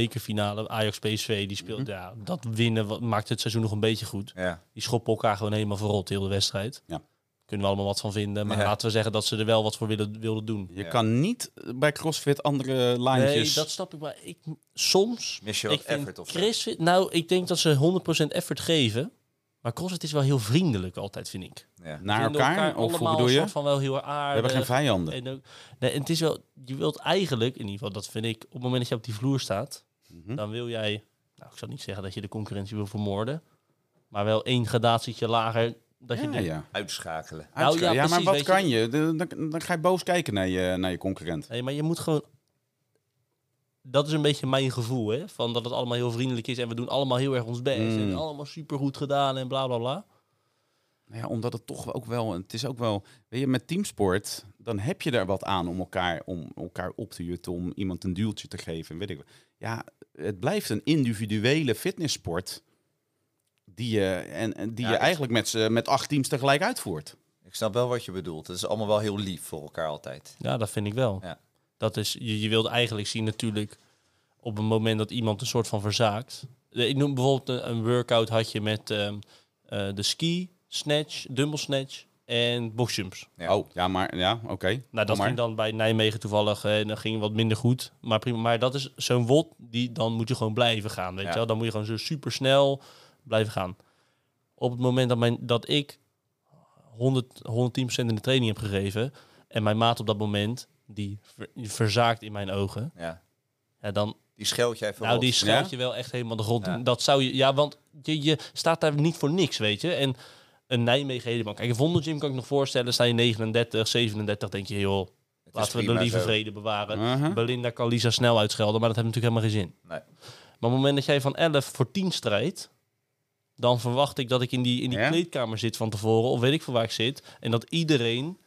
Speaker 3: KVB-bekerfinale, Ajax-PSV, die speelt,
Speaker 2: Mhm.
Speaker 3: ja, dat winnen wat, maakt het seizoen nog een beetje goed.
Speaker 1: Ja.
Speaker 3: Die schoppen elkaar gewoon helemaal verrot, heel de wedstrijd.
Speaker 2: Ja.
Speaker 3: kunnen we allemaal wat van vinden. Maar
Speaker 1: Ja.
Speaker 3: laten we zeggen dat ze er wel wat voor willen, wilden doen.
Speaker 2: Je
Speaker 1: Ja.
Speaker 2: kan niet eh, bij CrossFit andere
Speaker 3: Nee,
Speaker 2: lijntjes.
Speaker 3: dat snap ik. Maar ik, soms...
Speaker 1: Mis je
Speaker 3: Ik
Speaker 1: wat
Speaker 3: vind
Speaker 1: effort of zo?
Speaker 3: CrossFit- nou, ik denk dat ze 100% effort geven. Maar CrossFit is wel heel vriendelijk altijd, vind ik.
Speaker 1: Ja.
Speaker 2: Naar
Speaker 3: Vinden
Speaker 2: elkaar? of hoe
Speaker 3: allemaal
Speaker 2: bedoel
Speaker 3: een
Speaker 2: je?
Speaker 3: soort van wel heel erg
Speaker 2: We
Speaker 3: aardig.
Speaker 2: hebben geen vijanden.
Speaker 3: En ook, nee, en het is wel, je wilt eigenlijk, in ieder geval, dat vind ik, op het moment dat je op die vloer staat,
Speaker 2: Mhm.
Speaker 3: dan wil jij, nou, ik zal niet zeggen dat je de concurrentie wil vermoorden, maar wel één gradatie lager dat je
Speaker 2: Ja,
Speaker 3: de-
Speaker 2: ja.
Speaker 1: Uitschakelen.
Speaker 3: Nou, ja,
Speaker 2: ja, maar
Speaker 3: precies,
Speaker 2: wat
Speaker 3: weet
Speaker 2: kan je? De- Dan, dan ga je boos kijken naar je, naar je concurrent.
Speaker 3: Nee, maar je moet gewoon. Dat is een beetje mijn gevoel, hè? Van dat het allemaal heel vriendelijk is en we doen allemaal heel erg ons best
Speaker 2: Mm.
Speaker 3: en allemaal supergoed gedaan en bla bla bla.
Speaker 2: Nou ja, omdat het toch ook wel, het is ook wel, weet je, met teamsport, dan heb je daar wat aan om elkaar, om elkaar op te jutten, om iemand een duwtje te geven, weet ik wat. Ja, het blijft een individuele fitnesssport die je, en, en die
Speaker 1: Ja,
Speaker 2: je
Speaker 1: ik-
Speaker 2: eigenlijk met, z'n- met acht teams tegelijk uitvoert.
Speaker 1: Ik snap wel wat je bedoelt. Het is allemaal wel heel lief voor elkaar altijd.
Speaker 3: Ja, dat vind ik wel.
Speaker 1: Ja.
Speaker 3: Dat is, je, je wilt eigenlijk zien natuurlijk op een moment dat iemand een soort van verzaakt. Eh, Ik noem bijvoorbeeld een, een workout had je met ehm, eh, de ski, snatch, dumbbell snatch en boxjumps.
Speaker 1: Ja.
Speaker 2: Oh, ja, maar ja, oké.
Speaker 3: Nou, dat
Speaker 2: maar.
Speaker 3: ging dan bij Nijmegen toevallig eh, en dat ging wat minder goed. Maar prima, maar dat is zo'n wot, die, dan moet je gewoon blijven gaan, weet
Speaker 1: Ja.
Speaker 3: je wel. Dan moet je gewoon zo supersnel blijven gaan. Op het moment dat, mijn, dat ik 100, 110% in de training heb gegeven en mijn maat op dat moment, die ver- verzaakt in mijn ogen,
Speaker 1: Ja.
Speaker 3: ja, dan,
Speaker 1: Die scheld jij even
Speaker 3: nou, die
Speaker 1: rot.
Speaker 3: schuilt je wel echt helemaal de grond.
Speaker 1: Ja.
Speaker 3: Dat zou je, ja, want je, je staat daar niet voor niks, weet je. En een Nijmegen helemaal. Kijk, een Vondelgym kan ik nog voorstellen. Sta je 39, 37, denk je, joh,
Speaker 1: Het is
Speaker 3: laten we de
Speaker 1: prima
Speaker 3: lieve
Speaker 1: zo.
Speaker 3: vrede bewaren.
Speaker 2: Uh-huh.
Speaker 3: Belinda kan Lisa snel uitschelden, maar dat heeft natuurlijk helemaal geen zin.
Speaker 1: Nee.
Speaker 3: Maar op het moment dat jij van 11 voor 10 strijdt, dan verwacht ik dat ik in die, in die
Speaker 2: Ja.
Speaker 3: kleedkamer zit van tevoren, of weet ik veel waar ik zit. En dat iedereen,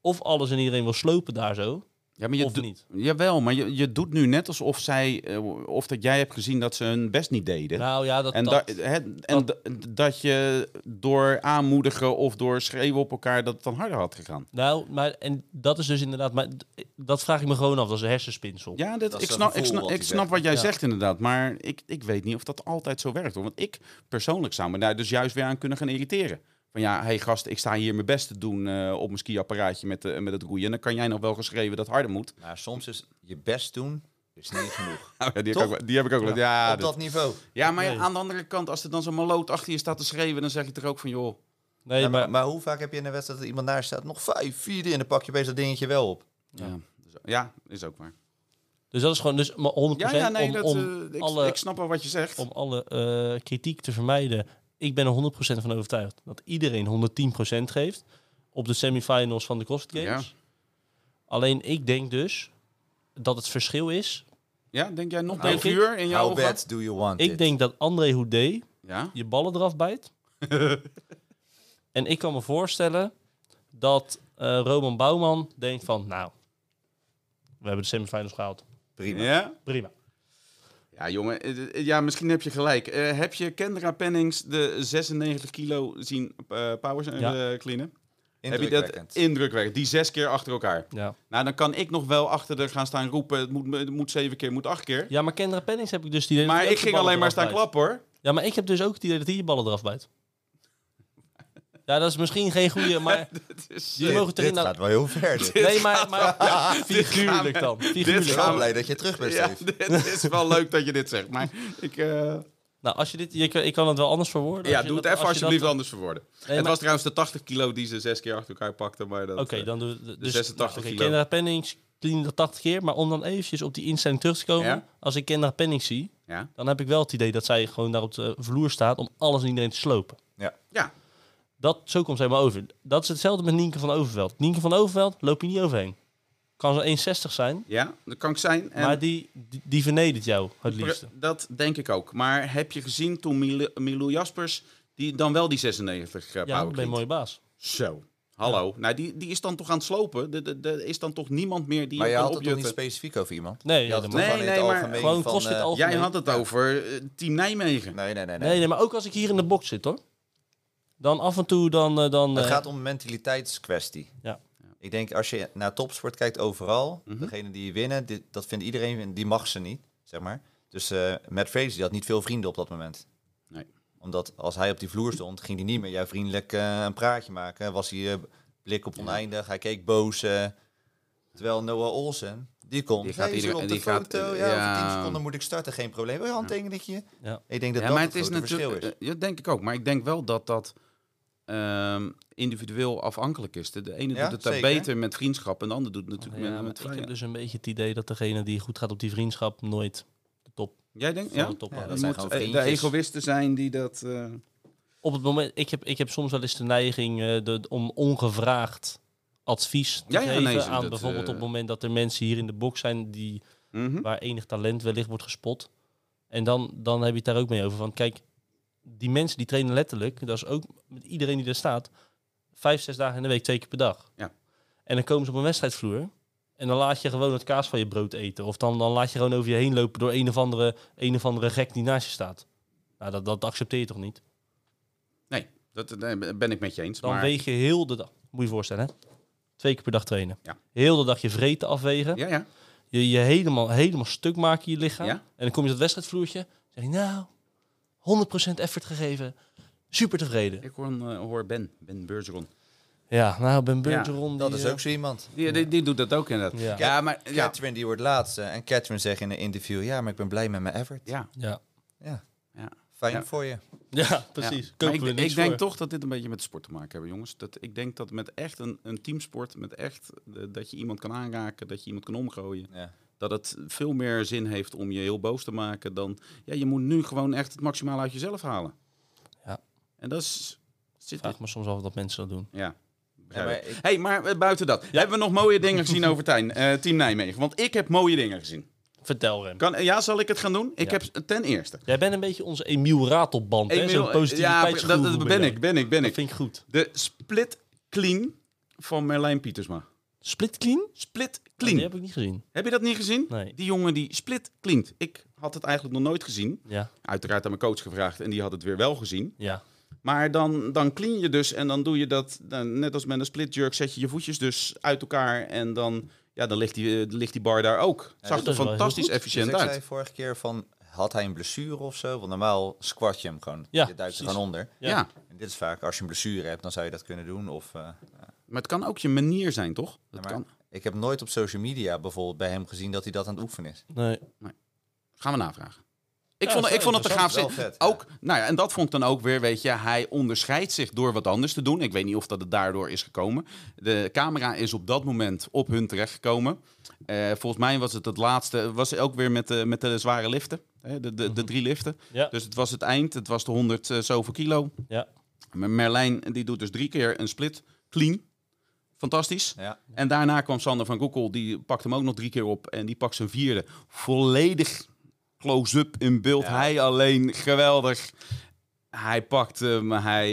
Speaker 3: of alles en iedereen wil slopen daar zo,
Speaker 2: Ja, maar je
Speaker 3: of
Speaker 2: doet-
Speaker 3: niet.
Speaker 2: Jawel, maar je, je doet nu net alsof zij, eh, of dat jij hebt gezien dat ze hun best niet deden.
Speaker 3: Nou ja, dat,
Speaker 2: En,
Speaker 3: dat,
Speaker 2: da- hè, en da- dat je door aanmoedigen of door schreeuwen op elkaar dat het dan harder had gegaan.
Speaker 3: Nou, maar en dat is dus inderdaad, maar d- dat vraag ik me gewoon af. Dat is een hersenspinsel.
Speaker 2: Ja, dit,
Speaker 1: Dat is
Speaker 2: ik,
Speaker 1: dat
Speaker 2: snap, ik,
Speaker 1: gevoel
Speaker 2: snap,
Speaker 1: wat
Speaker 2: ik
Speaker 1: hij
Speaker 2: snap
Speaker 1: zegt.
Speaker 2: wat jij
Speaker 3: Ja.
Speaker 2: zegt inderdaad, maar ik, ik weet niet of dat altijd zo werkt. Hoor. Want ik persoonlijk zou me daar dus juist weer aan kunnen gaan irriteren. Van ja, hé hey gast, ik sta hier mijn best te doen eh, op mijn skiapparaatje met, eh, met het roeien. En dan kan jij nog wel geschreven dat het harder moet.
Speaker 1: Maar soms is je best doen is niet genoeg. dus-
Speaker 2: Oh ja, die, heb
Speaker 1: Toch?
Speaker 2: ik ook, wel- die heb ik ook wel. Ja,
Speaker 1: Op
Speaker 2: dat-
Speaker 1: dat niveau.
Speaker 2: ja maar ja,
Speaker 3: Nee.
Speaker 2: aan de andere kant, als er dan zo'n maloot achter je staat te schreeuwen, dan zeg je toch ook van joh.
Speaker 3: Nee,
Speaker 1: Ja,
Speaker 3: maar,
Speaker 1: maar, maar hoe vaak heb je in een wedstrijd dat iemand daar staat? Nog vijf, vierde en dan pak je opeens dat dingetje wel op.
Speaker 2: Ja, dus- ja is ook waar.
Speaker 3: dus dat is gewoon dus maar 100%
Speaker 2: Ja, ja nee,
Speaker 3: om,
Speaker 2: dat,
Speaker 3: om,
Speaker 2: eh, ik,
Speaker 3: alle-
Speaker 2: ik snap wel wat je zegt.
Speaker 3: om alle eh, kritiek te vermijden. Ik ben er 100% van overtuigd dat iedereen 110% geeft op de semifinals van de CrossFit Games. Alleen ik denk dus dat het verschil is.
Speaker 2: Ja, denk jij nog
Speaker 1: Denk
Speaker 2: een
Speaker 1: ik.
Speaker 2: vuur in jouw
Speaker 1: How
Speaker 2: ogen?
Speaker 1: bad do you want
Speaker 3: Ik
Speaker 1: it?
Speaker 3: denk dat André Houdé
Speaker 2: Ja.
Speaker 3: je ballen eraf bijt. en ik kan me voorstellen dat eh, Roman Bouwman denkt van, nou, we hebben de semifinals gehaald.
Speaker 1: Prima.
Speaker 2: ja.
Speaker 3: Prima.
Speaker 2: Ja, jongen. eh, eh, Ja, misschien heb je gelijk. Eh, heb je Kendra Pennings de 96 kilo zien eh powers en
Speaker 3: Ja.
Speaker 2: eh, cleanen? Heb je
Speaker 1: Indrukwekkend.
Speaker 2: dat indrukwekkend? Die zes keer achter elkaar.
Speaker 3: Ja.
Speaker 2: Nou, dan kan ik nog wel achter de gaan staan roepen. Het moet, het moet zeven keer, het moet acht keer.
Speaker 3: ja, maar Kendra Pennings heb ik dus die
Speaker 2: maar
Speaker 3: die
Speaker 2: ik
Speaker 3: ook de
Speaker 2: ging
Speaker 3: ballen
Speaker 2: alleen maar
Speaker 3: eraf
Speaker 2: staan
Speaker 3: bijt.
Speaker 2: klappen hoor.
Speaker 3: Ja, maar ik heb dus ook het idee dat hij je ballen eraf bijt. Ja, dat is misschien geen goede, maar
Speaker 2: Het is,
Speaker 3: jullie
Speaker 1: Dit-
Speaker 3: mogen het erin
Speaker 1: dit
Speaker 3: nou-
Speaker 1: gaat wel heel ver. dit.
Speaker 3: Nee, maar, maar figuurlijk dan.
Speaker 1: Ik
Speaker 3: Figuurlijk.
Speaker 1: ben
Speaker 2: gaan
Speaker 1: wel
Speaker 2: we-
Speaker 1: blij dat je terug bent,
Speaker 2: ja,
Speaker 1: Steve.
Speaker 2: dit is wel leuk dat je dit zegt. Maar ik, eh,
Speaker 3: Nou, als je dit, je, kan- ik kan het wel anders verwoorden.
Speaker 2: ja,
Speaker 3: Als je
Speaker 2: doe het
Speaker 3: dat-
Speaker 2: even
Speaker 3: als je dat-
Speaker 2: alsjeblieft anders verwoorden.
Speaker 3: Nee,
Speaker 2: het
Speaker 3: maar-
Speaker 2: was trouwens de 80 kilo die ze zes keer achter elkaar pakte. Maar dat,
Speaker 3: Oké,
Speaker 2: eh,
Speaker 3: dan doen we dus
Speaker 2: 86
Speaker 3: nou, oké,
Speaker 2: kilo.
Speaker 3: Kendra Pennings clean dat 80 keer, maar om dan eventjes op die instelling terug te komen.
Speaker 2: Ja.
Speaker 3: Als ik Kendra Pennings zie,
Speaker 2: Ja.
Speaker 3: dan heb ik wel het idee dat zij gewoon daar op de vloer staat om alles en iedereen te slopen.
Speaker 2: ja.
Speaker 3: Dat, zo komt zij maar over. Dat is hetzelfde met Nienke van Overveld. Nienke van Overveld loop je niet overheen. Kan ze 1,60 zijn,
Speaker 2: Ja, dat kan ik zijn. En
Speaker 3: maar die, die, die vernedert jou het
Speaker 2: pre-
Speaker 3: liefste.
Speaker 2: Dat denk ik ook. Maar heb je gezien toen Mil- Milou Jaspers die dan wel die 96 uh,
Speaker 3: Ja, dat ben je een mooie baas.
Speaker 2: Zo. Hallo. Nou, die, die is dan toch aan het slopen. Er- Er er is dan toch niemand meer die
Speaker 1: Maar je
Speaker 2: kan
Speaker 1: had het toch niet
Speaker 2: opjutten?
Speaker 1: specifiek over iemand?
Speaker 3: Nee,
Speaker 1: Je had het
Speaker 3: helemaal
Speaker 1: toch
Speaker 2: Nee,
Speaker 1: gewoon in het
Speaker 2: nee, maar
Speaker 1: algemeen
Speaker 3: gewoon
Speaker 1: van...
Speaker 3: CrossFit
Speaker 1: eh,
Speaker 3: al-
Speaker 2: Jij had het over eh, Team Nijmegen.
Speaker 1: Nee, nee, nee.
Speaker 3: niet. Nee, nee, maar ook als ik hier in de box zit hoor. Dan af en toe dan... eh, dan
Speaker 1: Het
Speaker 3: eh,
Speaker 1: gaat om een mentaliteitskwestie.
Speaker 3: Ja.
Speaker 1: Ik denk als je naar topsport kijkt overal,
Speaker 2: Mhm.
Speaker 1: degene die winnen, dit, dat vindt iedereen, die mag ze niet, zeg maar. Dus eh Matt Fraser, die had niet veel vrienden op dat moment.
Speaker 2: Nee.
Speaker 1: Want Omdat als hij op die vloer stond, ging hij niet met jou vriendelijk eh, een praatje maken. Was hij eh, blik op oneindig, hij keek boos. eh. terwijl Noah Olsen, die komt.
Speaker 2: Die gaat
Speaker 1: "Hey, is er
Speaker 2: iedereen-
Speaker 1: op de
Speaker 2: die gaat,
Speaker 1: foto,
Speaker 2: eh,
Speaker 1: ja, over
Speaker 2: ja.
Speaker 1: 10 seconden moet ik starten, geen probleem. Oh Wil je handtekeningetje?
Speaker 3: Ja.
Speaker 1: Ik denk dat
Speaker 2: Ja,
Speaker 1: dat
Speaker 2: maar
Speaker 1: het,
Speaker 2: het is
Speaker 1: grote
Speaker 2: natuurlijk.
Speaker 1: verschil is.
Speaker 2: eh, Ja, denk ik ook. Maar ik denk wel dat dat ehm, individueel afhankelijk is. De, de ene
Speaker 1: Ja,
Speaker 2: doet het daar
Speaker 1: zeker.
Speaker 2: beter met vriendschap en de ander doet het natuurlijk
Speaker 3: Ja,
Speaker 2: met,
Speaker 3: maar
Speaker 2: met
Speaker 3: ik heb
Speaker 2: vrijheid.
Speaker 3: dus een beetje het idee dat degene die goed gaat op die vriendschap nooit de top
Speaker 2: Jij denkt?
Speaker 3: van
Speaker 2: Ja.
Speaker 3: de top
Speaker 1: Ja,
Speaker 3: haalt.
Speaker 1: dat
Speaker 2: dus Je
Speaker 1: zijn
Speaker 2: moet,
Speaker 1: gewoon
Speaker 2: eh, de
Speaker 1: vriendjes.
Speaker 2: egoïsten zijn die dat. eh,
Speaker 3: Op het moment, ik heb, ik heb soms wel eens de neiging eh, de, om ongevraagd advies te
Speaker 2: Ja, ja,
Speaker 3: geven
Speaker 2: nee,
Speaker 3: aan
Speaker 2: dat,
Speaker 3: bijvoorbeeld
Speaker 2: eh,
Speaker 3: op het moment dat er mensen hier in de box zijn die
Speaker 2: mhm.
Speaker 3: waar enig talent wellicht wordt gespot. En dan, dan heb je het daar ook mee over. Want kijk, die mensen die trainen letterlijk, dat is ook met iedereen die er staat, vijf, zes dagen in de week, twee keer per dag.
Speaker 2: Ja.
Speaker 3: En dan komen ze op een wedstrijdvloer en dan laat je gewoon het kaas van je brood eten. Of dan, dan laat je gewoon over je heen lopen door een of andere, een of andere gek die naast je staat. Nou, dat, dat accepteer je toch niet?
Speaker 2: Nee, dat eh, nee, ben ik met je eens.
Speaker 3: Dan
Speaker 2: maar...
Speaker 3: weeg je heel de dag, moet je je voorstellen hè? Twee keer per dag trainen.
Speaker 2: Ja.
Speaker 3: Heel de dag je vreten afwegen.
Speaker 2: Ja, ja.
Speaker 3: je, je helemaal, helemaal stuk maken je lichaam.
Speaker 2: Ja.
Speaker 3: En dan kom je op het wedstrijdvloertje. Zeg je, nou, 100% effort gegeven. Super tevreden.
Speaker 2: Ik hoor, een, eh, hoor Ben, Ben Bergeron.
Speaker 3: Ja, nou, Ben Bergeron. die,
Speaker 1: Dat is
Speaker 3: eh,
Speaker 1: ook zo iemand.
Speaker 2: Die, die, die doet dat ook inderdaad.
Speaker 3: Ja.
Speaker 2: ja maar ja,
Speaker 1: Catherine die wordt laatste. En Catherine zegt in een interview, ja, maar ik ben blij met mijn effort.
Speaker 2: ja,
Speaker 3: Ja.
Speaker 1: Ja,
Speaker 2: ja.
Speaker 1: fijn
Speaker 2: Ja.
Speaker 1: voor je.
Speaker 3: ja, precies.
Speaker 2: Ja. Maar
Speaker 3: Kopen
Speaker 2: ik
Speaker 3: we
Speaker 2: ik
Speaker 3: niks
Speaker 2: denk
Speaker 3: voor.
Speaker 2: toch dat dit een beetje met sport te maken hebben, jongens. Dat, ik denk dat met echt een, een teamsport, met echt eh, dat je iemand kan aanraken, dat je iemand kan omgooien,
Speaker 1: Ja.
Speaker 2: dat het veel meer zin heeft om je heel boos te maken dan... Ja, je moet nu gewoon echt het maximale uit jezelf halen.
Speaker 3: Ja.
Speaker 2: En dat is... Zit
Speaker 3: Vraag me soms af dat mensen dat doen.
Speaker 2: Ja.
Speaker 1: Ja, maar ik-
Speaker 2: hey, maar eh, buiten dat. Hebben we nog mooie dingen gezien over Tijn, eh, Team Nijmegen? Want ik heb mooie dingen gezien.
Speaker 3: Vertel, Rem.
Speaker 2: Kan, ja, zal ik het gaan doen? Ik
Speaker 3: Ja.
Speaker 2: heb ten eerste...
Speaker 3: Jij bent een beetje onze Emiel Ratelband, hè?
Speaker 2: Emiel,
Speaker 3: Zo'n
Speaker 2: eh,
Speaker 3: positiviteitsgoeroe
Speaker 2: ja, dat, dat ben
Speaker 3: jij.
Speaker 2: ik, ben ik, ben
Speaker 3: Dat
Speaker 2: ik.
Speaker 3: vind ik goed.
Speaker 2: De split clean van Merlijn Pietersma.
Speaker 3: Split clean? Oh,
Speaker 2: Split
Speaker 3: Die
Speaker 2: clean.
Speaker 3: heb ik niet gezien.
Speaker 2: Heb je dat niet gezien?
Speaker 3: Nee.
Speaker 2: Die jongen die split cleant. Ik had het eigenlijk nog nooit gezien.
Speaker 3: Ja,
Speaker 2: Uiteraard aan mijn coach gevraagd en die had het weer wel gezien.
Speaker 3: ja.
Speaker 2: Maar dan, dan clean je dus en dan doe je dat, dan, net als met een split jerk, zet je je voetjes dus uit elkaar en dan, ja, dan ligt, die, eh, ligt die bar daar ook. Zag
Speaker 3: dat
Speaker 2: er
Speaker 3: is wel heel
Speaker 2: fantastisch
Speaker 3: goed.
Speaker 2: efficiënt
Speaker 1: dus ik zei
Speaker 2: uit.
Speaker 1: vorige keer van, had hij een blessure of zo? Want normaal squat je hem gewoon.
Speaker 3: Ja,
Speaker 1: je duikt
Speaker 3: precies.
Speaker 1: er gewoon onder.
Speaker 3: Ja.
Speaker 2: Ja.
Speaker 1: En dit is vaak, als je een blessure hebt, dan zou je dat kunnen doen. Of, eh,
Speaker 2: maar het kan ook je manier zijn, toch? Dat
Speaker 1: maar
Speaker 2: kan.
Speaker 1: Ik heb nooit op social media bijvoorbeeld bij hem gezien dat hij dat aan het oefenen is.
Speaker 3: Nee.
Speaker 2: Gaan we navragen. Ik,
Speaker 3: Ja,
Speaker 2: vond,
Speaker 3: dat
Speaker 2: ik
Speaker 3: is wel
Speaker 2: vond het een gaaf
Speaker 1: interessant.
Speaker 2: zin.
Speaker 1: Wel vet, ja.
Speaker 2: ook, nou ja, en dat vond ik dan ook weer, weet je, hij onderscheidt zich door wat anders te doen. Ik weet niet of dat het daardoor is gekomen. De camera is op dat moment op hun terechtgekomen. Eh, volgens mij was het het laatste, was hij ook weer met de, met de zware liften, hè, de, de, de drie liften.
Speaker 3: Ja.
Speaker 2: Dus het was het eind, het was de 100 eh, zoveel kilo.
Speaker 3: Ja.
Speaker 2: Maar Merlijn, die doet dus drie keer een split, clean. Fantastisch.
Speaker 1: Ja.
Speaker 2: En daarna kwam Sander van Koekel, die pakt hem ook nog drie keer op. En die pakt zijn vierde. Volledig close-up in beeld.
Speaker 1: Ja.
Speaker 2: Hij alleen, geweldig. Hij pakt hem, hij...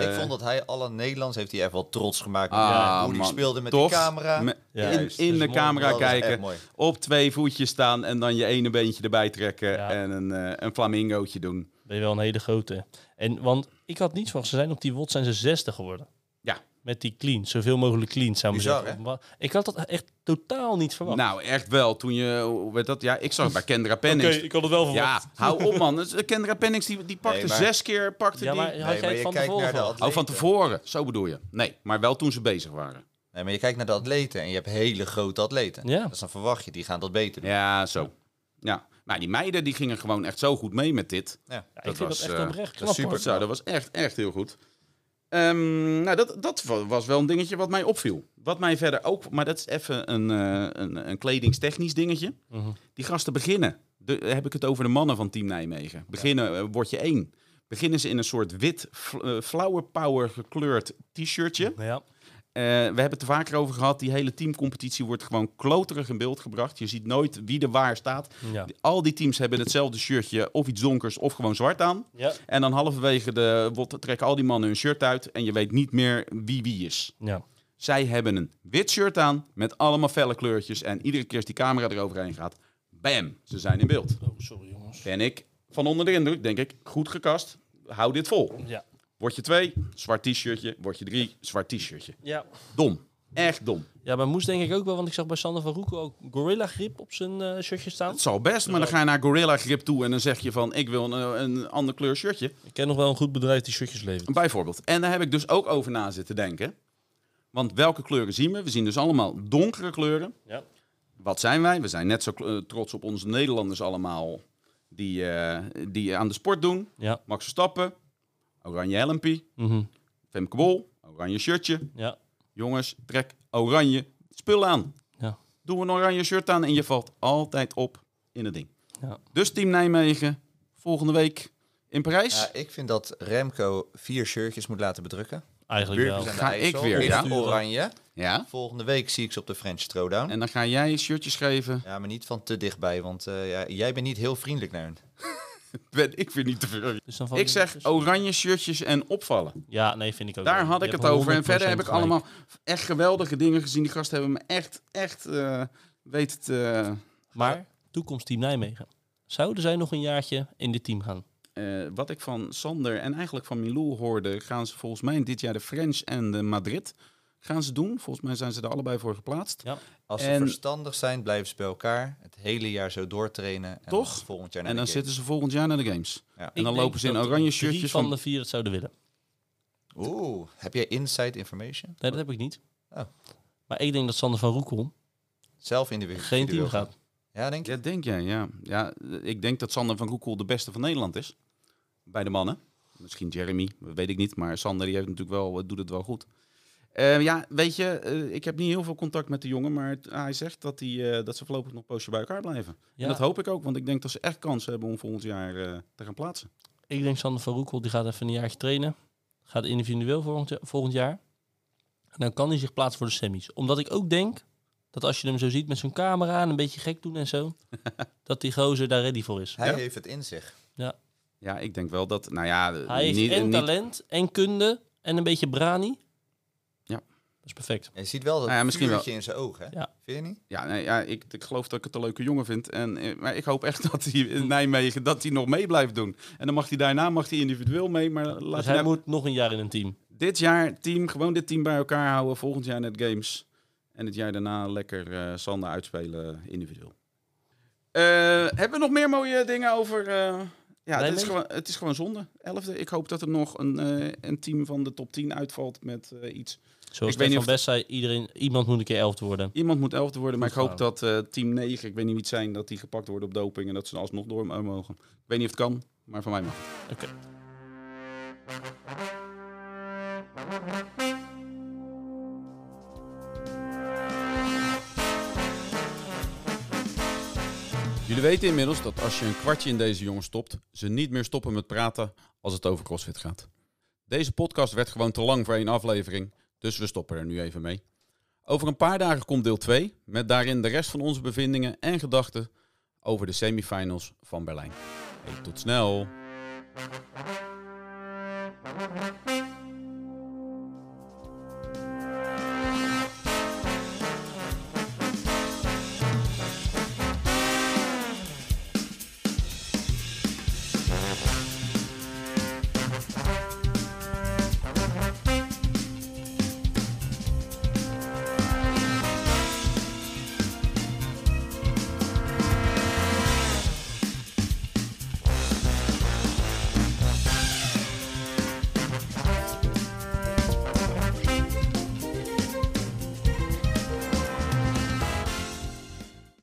Speaker 2: eh,
Speaker 1: ik vond dat hij alle Nederlands heeft hij echt wel trots gemaakt. met
Speaker 2: ah,
Speaker 1: hoe hij
Speaker 2: man,
Speaker 1: speelde met
Speaker 2: toch?
Speaker 1: de camera.
Speaker 2: Me-
Speaker 3: Ja,
Speaker 2: in
Speaker 3: juist.
Speaker 2: in
Speaker 3: Dat
Speaker 2: de
Speaker 3: is mooi.
Speaker 2: camera
Speaker 1: Dat was echt
Speaker 2: kijken,
Speaker 1: mooi.
Speaker 2: op twee voetjes staan en dan je ene beentje erbij trekken
Speaker 3: Ja.
Speaker 2: en een, eh, een flamingootje doen.
Speaker 3: Ben je wel een hele grote. En, want ik had niets van, ze zijn op die WOT zijn ze zesde geworden.
Speaker 2: Ja.
Speaker 3: Met die clean, zoveel mogelijk clean, zou ik maar
Speaker 1: Bizar,
Speaker 3: zeggen. Maar Ik had dat echt totaal niet verwacht.
Speaker 2: Nou, echt wel. Toen je, hoe werd dat? Ja, ik zag het bij Kendra
Speaker 3: Oké,
Speaker 2: Pennings.
Speaker 3: ik had het wel
Speaker 2: Ja, hou op man. Dus, eh, Kendra Pennings die, die pakte
Speaker 1: Nee, maar-
Speaker 2: zes keer. Pakte
Speaker 3: Ja,
Speaker 2: die...
Speaker 3: maar had
Speaker 1: Nee,
Speaker 3: jij
Speaker 1: maar
Speaker 3: het
Speaker 1: je
Speaker 3: van
Speaker 1: kijkt
Speaker 3: tevoren
Speaker 1: naar de
Speaker 3: verwacht?
Speaker 1: atleten.
Speaker 2: Oh, van tevoren. Zo bedoel je. Nee, maar wel toen ze bezig waren.
Speaker 1: Nee, maar je kijkt naar de atleten en je hebt hele grote atleten.
Speaker 3: Ja.
Speaker 1: Dus dan verwacht je, die gaan dat beter doen.
Speaker 2: Ja, zo. Ja. Maar die meiden die gingen gewoon echt zo goed mee met dit.
Speaker 1: Ja.
Speaker 3: Ja,
Speaker 2: dat
Speaker 3: ik vind
Speaker 2: was,
Speaker 3: dat echt
Speaker 2: eh,
Speaker 3: oprecht
Speaker 1: dat is
Speaker 3: knap.
Speaker 1: super.
Speaker 3: hoor.
Speaker 2: Zo, dat was echt, echt heel goed. Ehm, nou, dat, dat wa- was wel een dingetje wat mij opviel. Wat mij verder ook... Maar dat is even een, eh, een, een kledingstechnisch dingetje.
Speaker 3: Mhm.
Speaker 2: Die gasten beginnen. De, heb ik het over de mannen van Team Nijmegen. Beginnen, eh, word je één. Beginnen ze in een soort wit, fl- eh, flower power gekleurd t-shirtje.
Speaker 3: Ja,
Speaker 2: Eh, we hebben het er vaker over gehad. Die hele teamcompetitie wordt gewoon kloterig in beeld gebracht. Je ziet nooit wie er waar staat.
Speaker 3: ja.
Speaker 2: Al die teams hebben hetzelfde shirtje, of iets donkers, of gewoon zwart aan.
Speaker 3: Ja.
Speaker 2: En dan halverwege de wat trekken al die mannen hun shirt uit en je weet niet meer wie wie is.
Speaker 3: ja.
Speaker 2: Zij hebben een wit shirt aan met allemaal felle kleurtjes en iedere keer als die camera eroverheen gaat, bam, ze zijn in beeld.
Speaker 3: Oh, sorry jongens.
Speaker 2: Ben ik van onder de indruk, denk ik, goed gekast, hou dit vol.
Speaker 3: Ja.
Speaker 2: Word je twee, zwart t-shirtje, word je drie, zwart t-shirtje.
Speaker 3: Ja.
Speaker 2: Dom. Echt dom.
Speaker 3: Ja, maar moest denk ik ook wel, want ik zag bij Sander van Roeken ook Gorilla Grip op zijn eh, shirtje staan.
Speaker 2: Het zal best, maar dan ga je naar Gorilla Grip toe en dan zeg je van... ik wil een, een ander kleur shirtje.
Speaker 3: Ik ken nog wel een goed bedrijf die shirtjes levert.
Speaker 2: Bijvoorbeeld. En daar heb ik dus ook over na zitten denken. Want welke kleuren zien we? We zien dus allemaal donkere kleuren.
Speaker 3: Ja.
Speaker 2: Wat zijn wij? We zijn net zo eh, trots op onze Nederlanders allemaal die, eh, die aan de sport doen.
Speaker 3: Ja.
Speaker 2: Max Verstappen, oranje helmpie,
Speaker 3: Mhm.
Speaker 2: Femke Bol, oranje shirtje.
Speaker 3: ja.
Speaker 2: Jongens, trek oranje spul aan.
Speaker 3: Ja.
Speaker 2: Doe een oranje shirt aan en je valt altijd op in het ding.
Speaker 3: Ja.
Speaker 2: Dus Team Nijmegen, volgende week in Parijs.
Speaker 1: Ja, ik vind dat Remco vier shirtjes moet laten bedrukken.
Speaker 3: Eigenlijk wel.
Speaker 1: Burgers aan de
Speaker 2: Ga ik
Speaker 1: IJssel,
Speaker 2: weer,
Speaker 1: in
Speaker 2: ja.
Speaker 1: het oranje.
Speaker 2: ja.
Speaker 1: Volgende week zie ik ze op de French Throwdown.
Speaker 2: En dan ga jij shirtjes geven.
Speaker 1: Ja, maar niet van te dichtbij, want eh, ja, jij bent niet heel vriendelijk naar hen.
Speaker 2: Ben ik weer niet te ver.
Speaker 3: Dus dan valt
Speaker 2: Ik
Speaker 3: die
Speaker 2: zeg
Speaker 3: tussen.
Speaker 2: oranje shirtjes en opvallen.
Speaker 3: Ja, nee, vind ik ook
Speaker 2: Daar
Speaker 3: wel.
Speaker 2: had
Speaker 3: Je
Speaker 2: ik
Speaker 3: hebt
Speaker 2: het over. En verder
Speaker 3: 100%
Speaker 2: heb ik
Speaker 3: gelijk.
Speaker 2: allemaal echt geweldige dingen gezien. Die gasten hebben me echt, echt eh weet het. eh,
Speaker 3: Maar, toekomstteam Nijmegen. Zouden zij nog een jaartje in dit team gaan?
Speaker 2: eh, wat ik van Sander en eigenlijk van Milou hoorde, gaan ze volgens mij dit jaar de French en de Madrid gaan ze doen. Volgens mij zijn ze er allebei voor geplaatst.
Speaker 3: Ja.
Speaker 1: Als ze
Speaker 2: En-
Speaker 1: verstandig zijn, blijven ze bij elkaar. Het hele jaar zo doortrainen. En
Speaker 2: Toch?
Speaker 1: dan volgend jaar naar
Speaker 2: En dan
Speaker 1: de games.
Speaker 2: zitten ze volgend jaar naar de games.
Speaker 1: Ja.
Speaker 2: En dan
Speaker 3: Ik
Speaker 2: lopen ze in
Speaker 3: denk dat
Speaker 2: oranje
Speaker 3: drie
Speaker 2: shirtjes
Speaker 3: van
Speaker 2: van.
Speaker 3: de vier het zouden willen.
Speaker 1: Oeh, heb jij inside information?
Speaker 3: Nee, dat heb ik niet.
Speaker 1: Oh.
Speaker 3: Maar ik denk dat Sander van Roekel
Speaker 1: Zelf in de wereld.
Speaker 3: geen team gaat.
Speaker 1: Ja, denk je?
Speaker 2: Ja, denk jij, ja. ja. Ik denk dat Sander van Roekel de beste van Nederland is. Bij de mannen. Misschien Jeremy, weet ik niet. Maar Sander die heeft natuurlijk wel, doet het wel goed. Eh, ja, weet je, eh, ik heb niet heel veel contact met de jongen. Maar het- hij zegt dat, hij, eh, dat ze voorlopig nog een poosje bij elkaar blijven.
Speaker 3: Ja,
Speaker 2: En dat hoop ik ook, want ik denk dat ze echt kans hebben om volgend jaar eh, te gaan plaatsen.
Speaker 3: ik denk Sander van Roekel die gaat even een jaartje trainen. Gaat individueel volgend, ja- volgend jaar. En dan kan hij zich plaatsen voor de semis. Omdat ik ook denk dat als je hem zo ziet met zijn camera en een beetje gek doen en zo. dat die gozer daar ready voor is.
Speaker 1: Hij
Speaker 2: Ja.
Speaker 1: heeft het in zich.
Speaker 2: Ja, ik denk wel dat, nou ja, eh,
Speaker 3: Hij heeft
Speaker 2: niet-
Speaker 3: en
Speaker 2: niet-
Speaker 3: talent en kunde en een beetje brani.
Speaker 2: Ja.
Speaker 3: Dat is perfect.
Speaker 1: Je ziet wel dat
Speaker 2: Nou ja, misschien
Speaker 1: vuurtje in zijn ogen. hè?
Speaker 3: Ja.
Speaker 1: Vind je niet?
Speaker 2: ja, nee, ja ik, ik geloof dat ik het een leuke jongen vind. En, eh, maar ik hoop echt dat hij in Nijmegen dat hij nog mee blijft doen. En dan mag hij daarna mag hij individueel mee, maar laat
Speaker 3: Dus hij
Speaker 2: hij nou-
Speaker 3: moet nog een jaar in een team.
Speaker 2: dit jaar team, gewoon dit team bij elkaar houden. Volgend jaar net games. En het jaar daarna lekker eh Sander uitspelen individueel. Eh, hebben we nog meer mooie dingen over? eh, ja, dit is
Speaker 3: Nijmegen?
Speaker 2: gewoon, het is gewoon zonde. Elfde. Ik hoop dat er nog een, eh, een team van de top 10 uitvalt met eh, iets.
Speaker 3: Zoals
Speaker 2: Ik
Speaker 3: Stefan
Speaker 2: weet niet
Speaker 3: van
Speaker 2: of-
Speaker 3: Best zei, iedereen, iemand moet een keer elfde worden.
Speaker 2: Iemand moet elfde worden, maar ik
Speaker 3: Goed
Speaker 2: hoop dat eh, team 9, ik weet niet wie het zijn, dat die gepakt worden op doping en dat ze er alsnog door mogen. Ik weet niet of het kan, maar van mij mag. het.
Speaker 3: Oké.
Speaker 2: Jullie weten inmiddels dat als je een kwartje in deze jongen stopt, ze niet meer stoppen met praten als het over CrossFit gaat. Deze podcast werd gewoon te lang voor één aflevering, dus we stoppen er nu even mee. Over een paar dagen komt deel 2, met daarin de rest van onze bevindingen en gedachten over de semifinals van Berlijn. Hey, tot snel!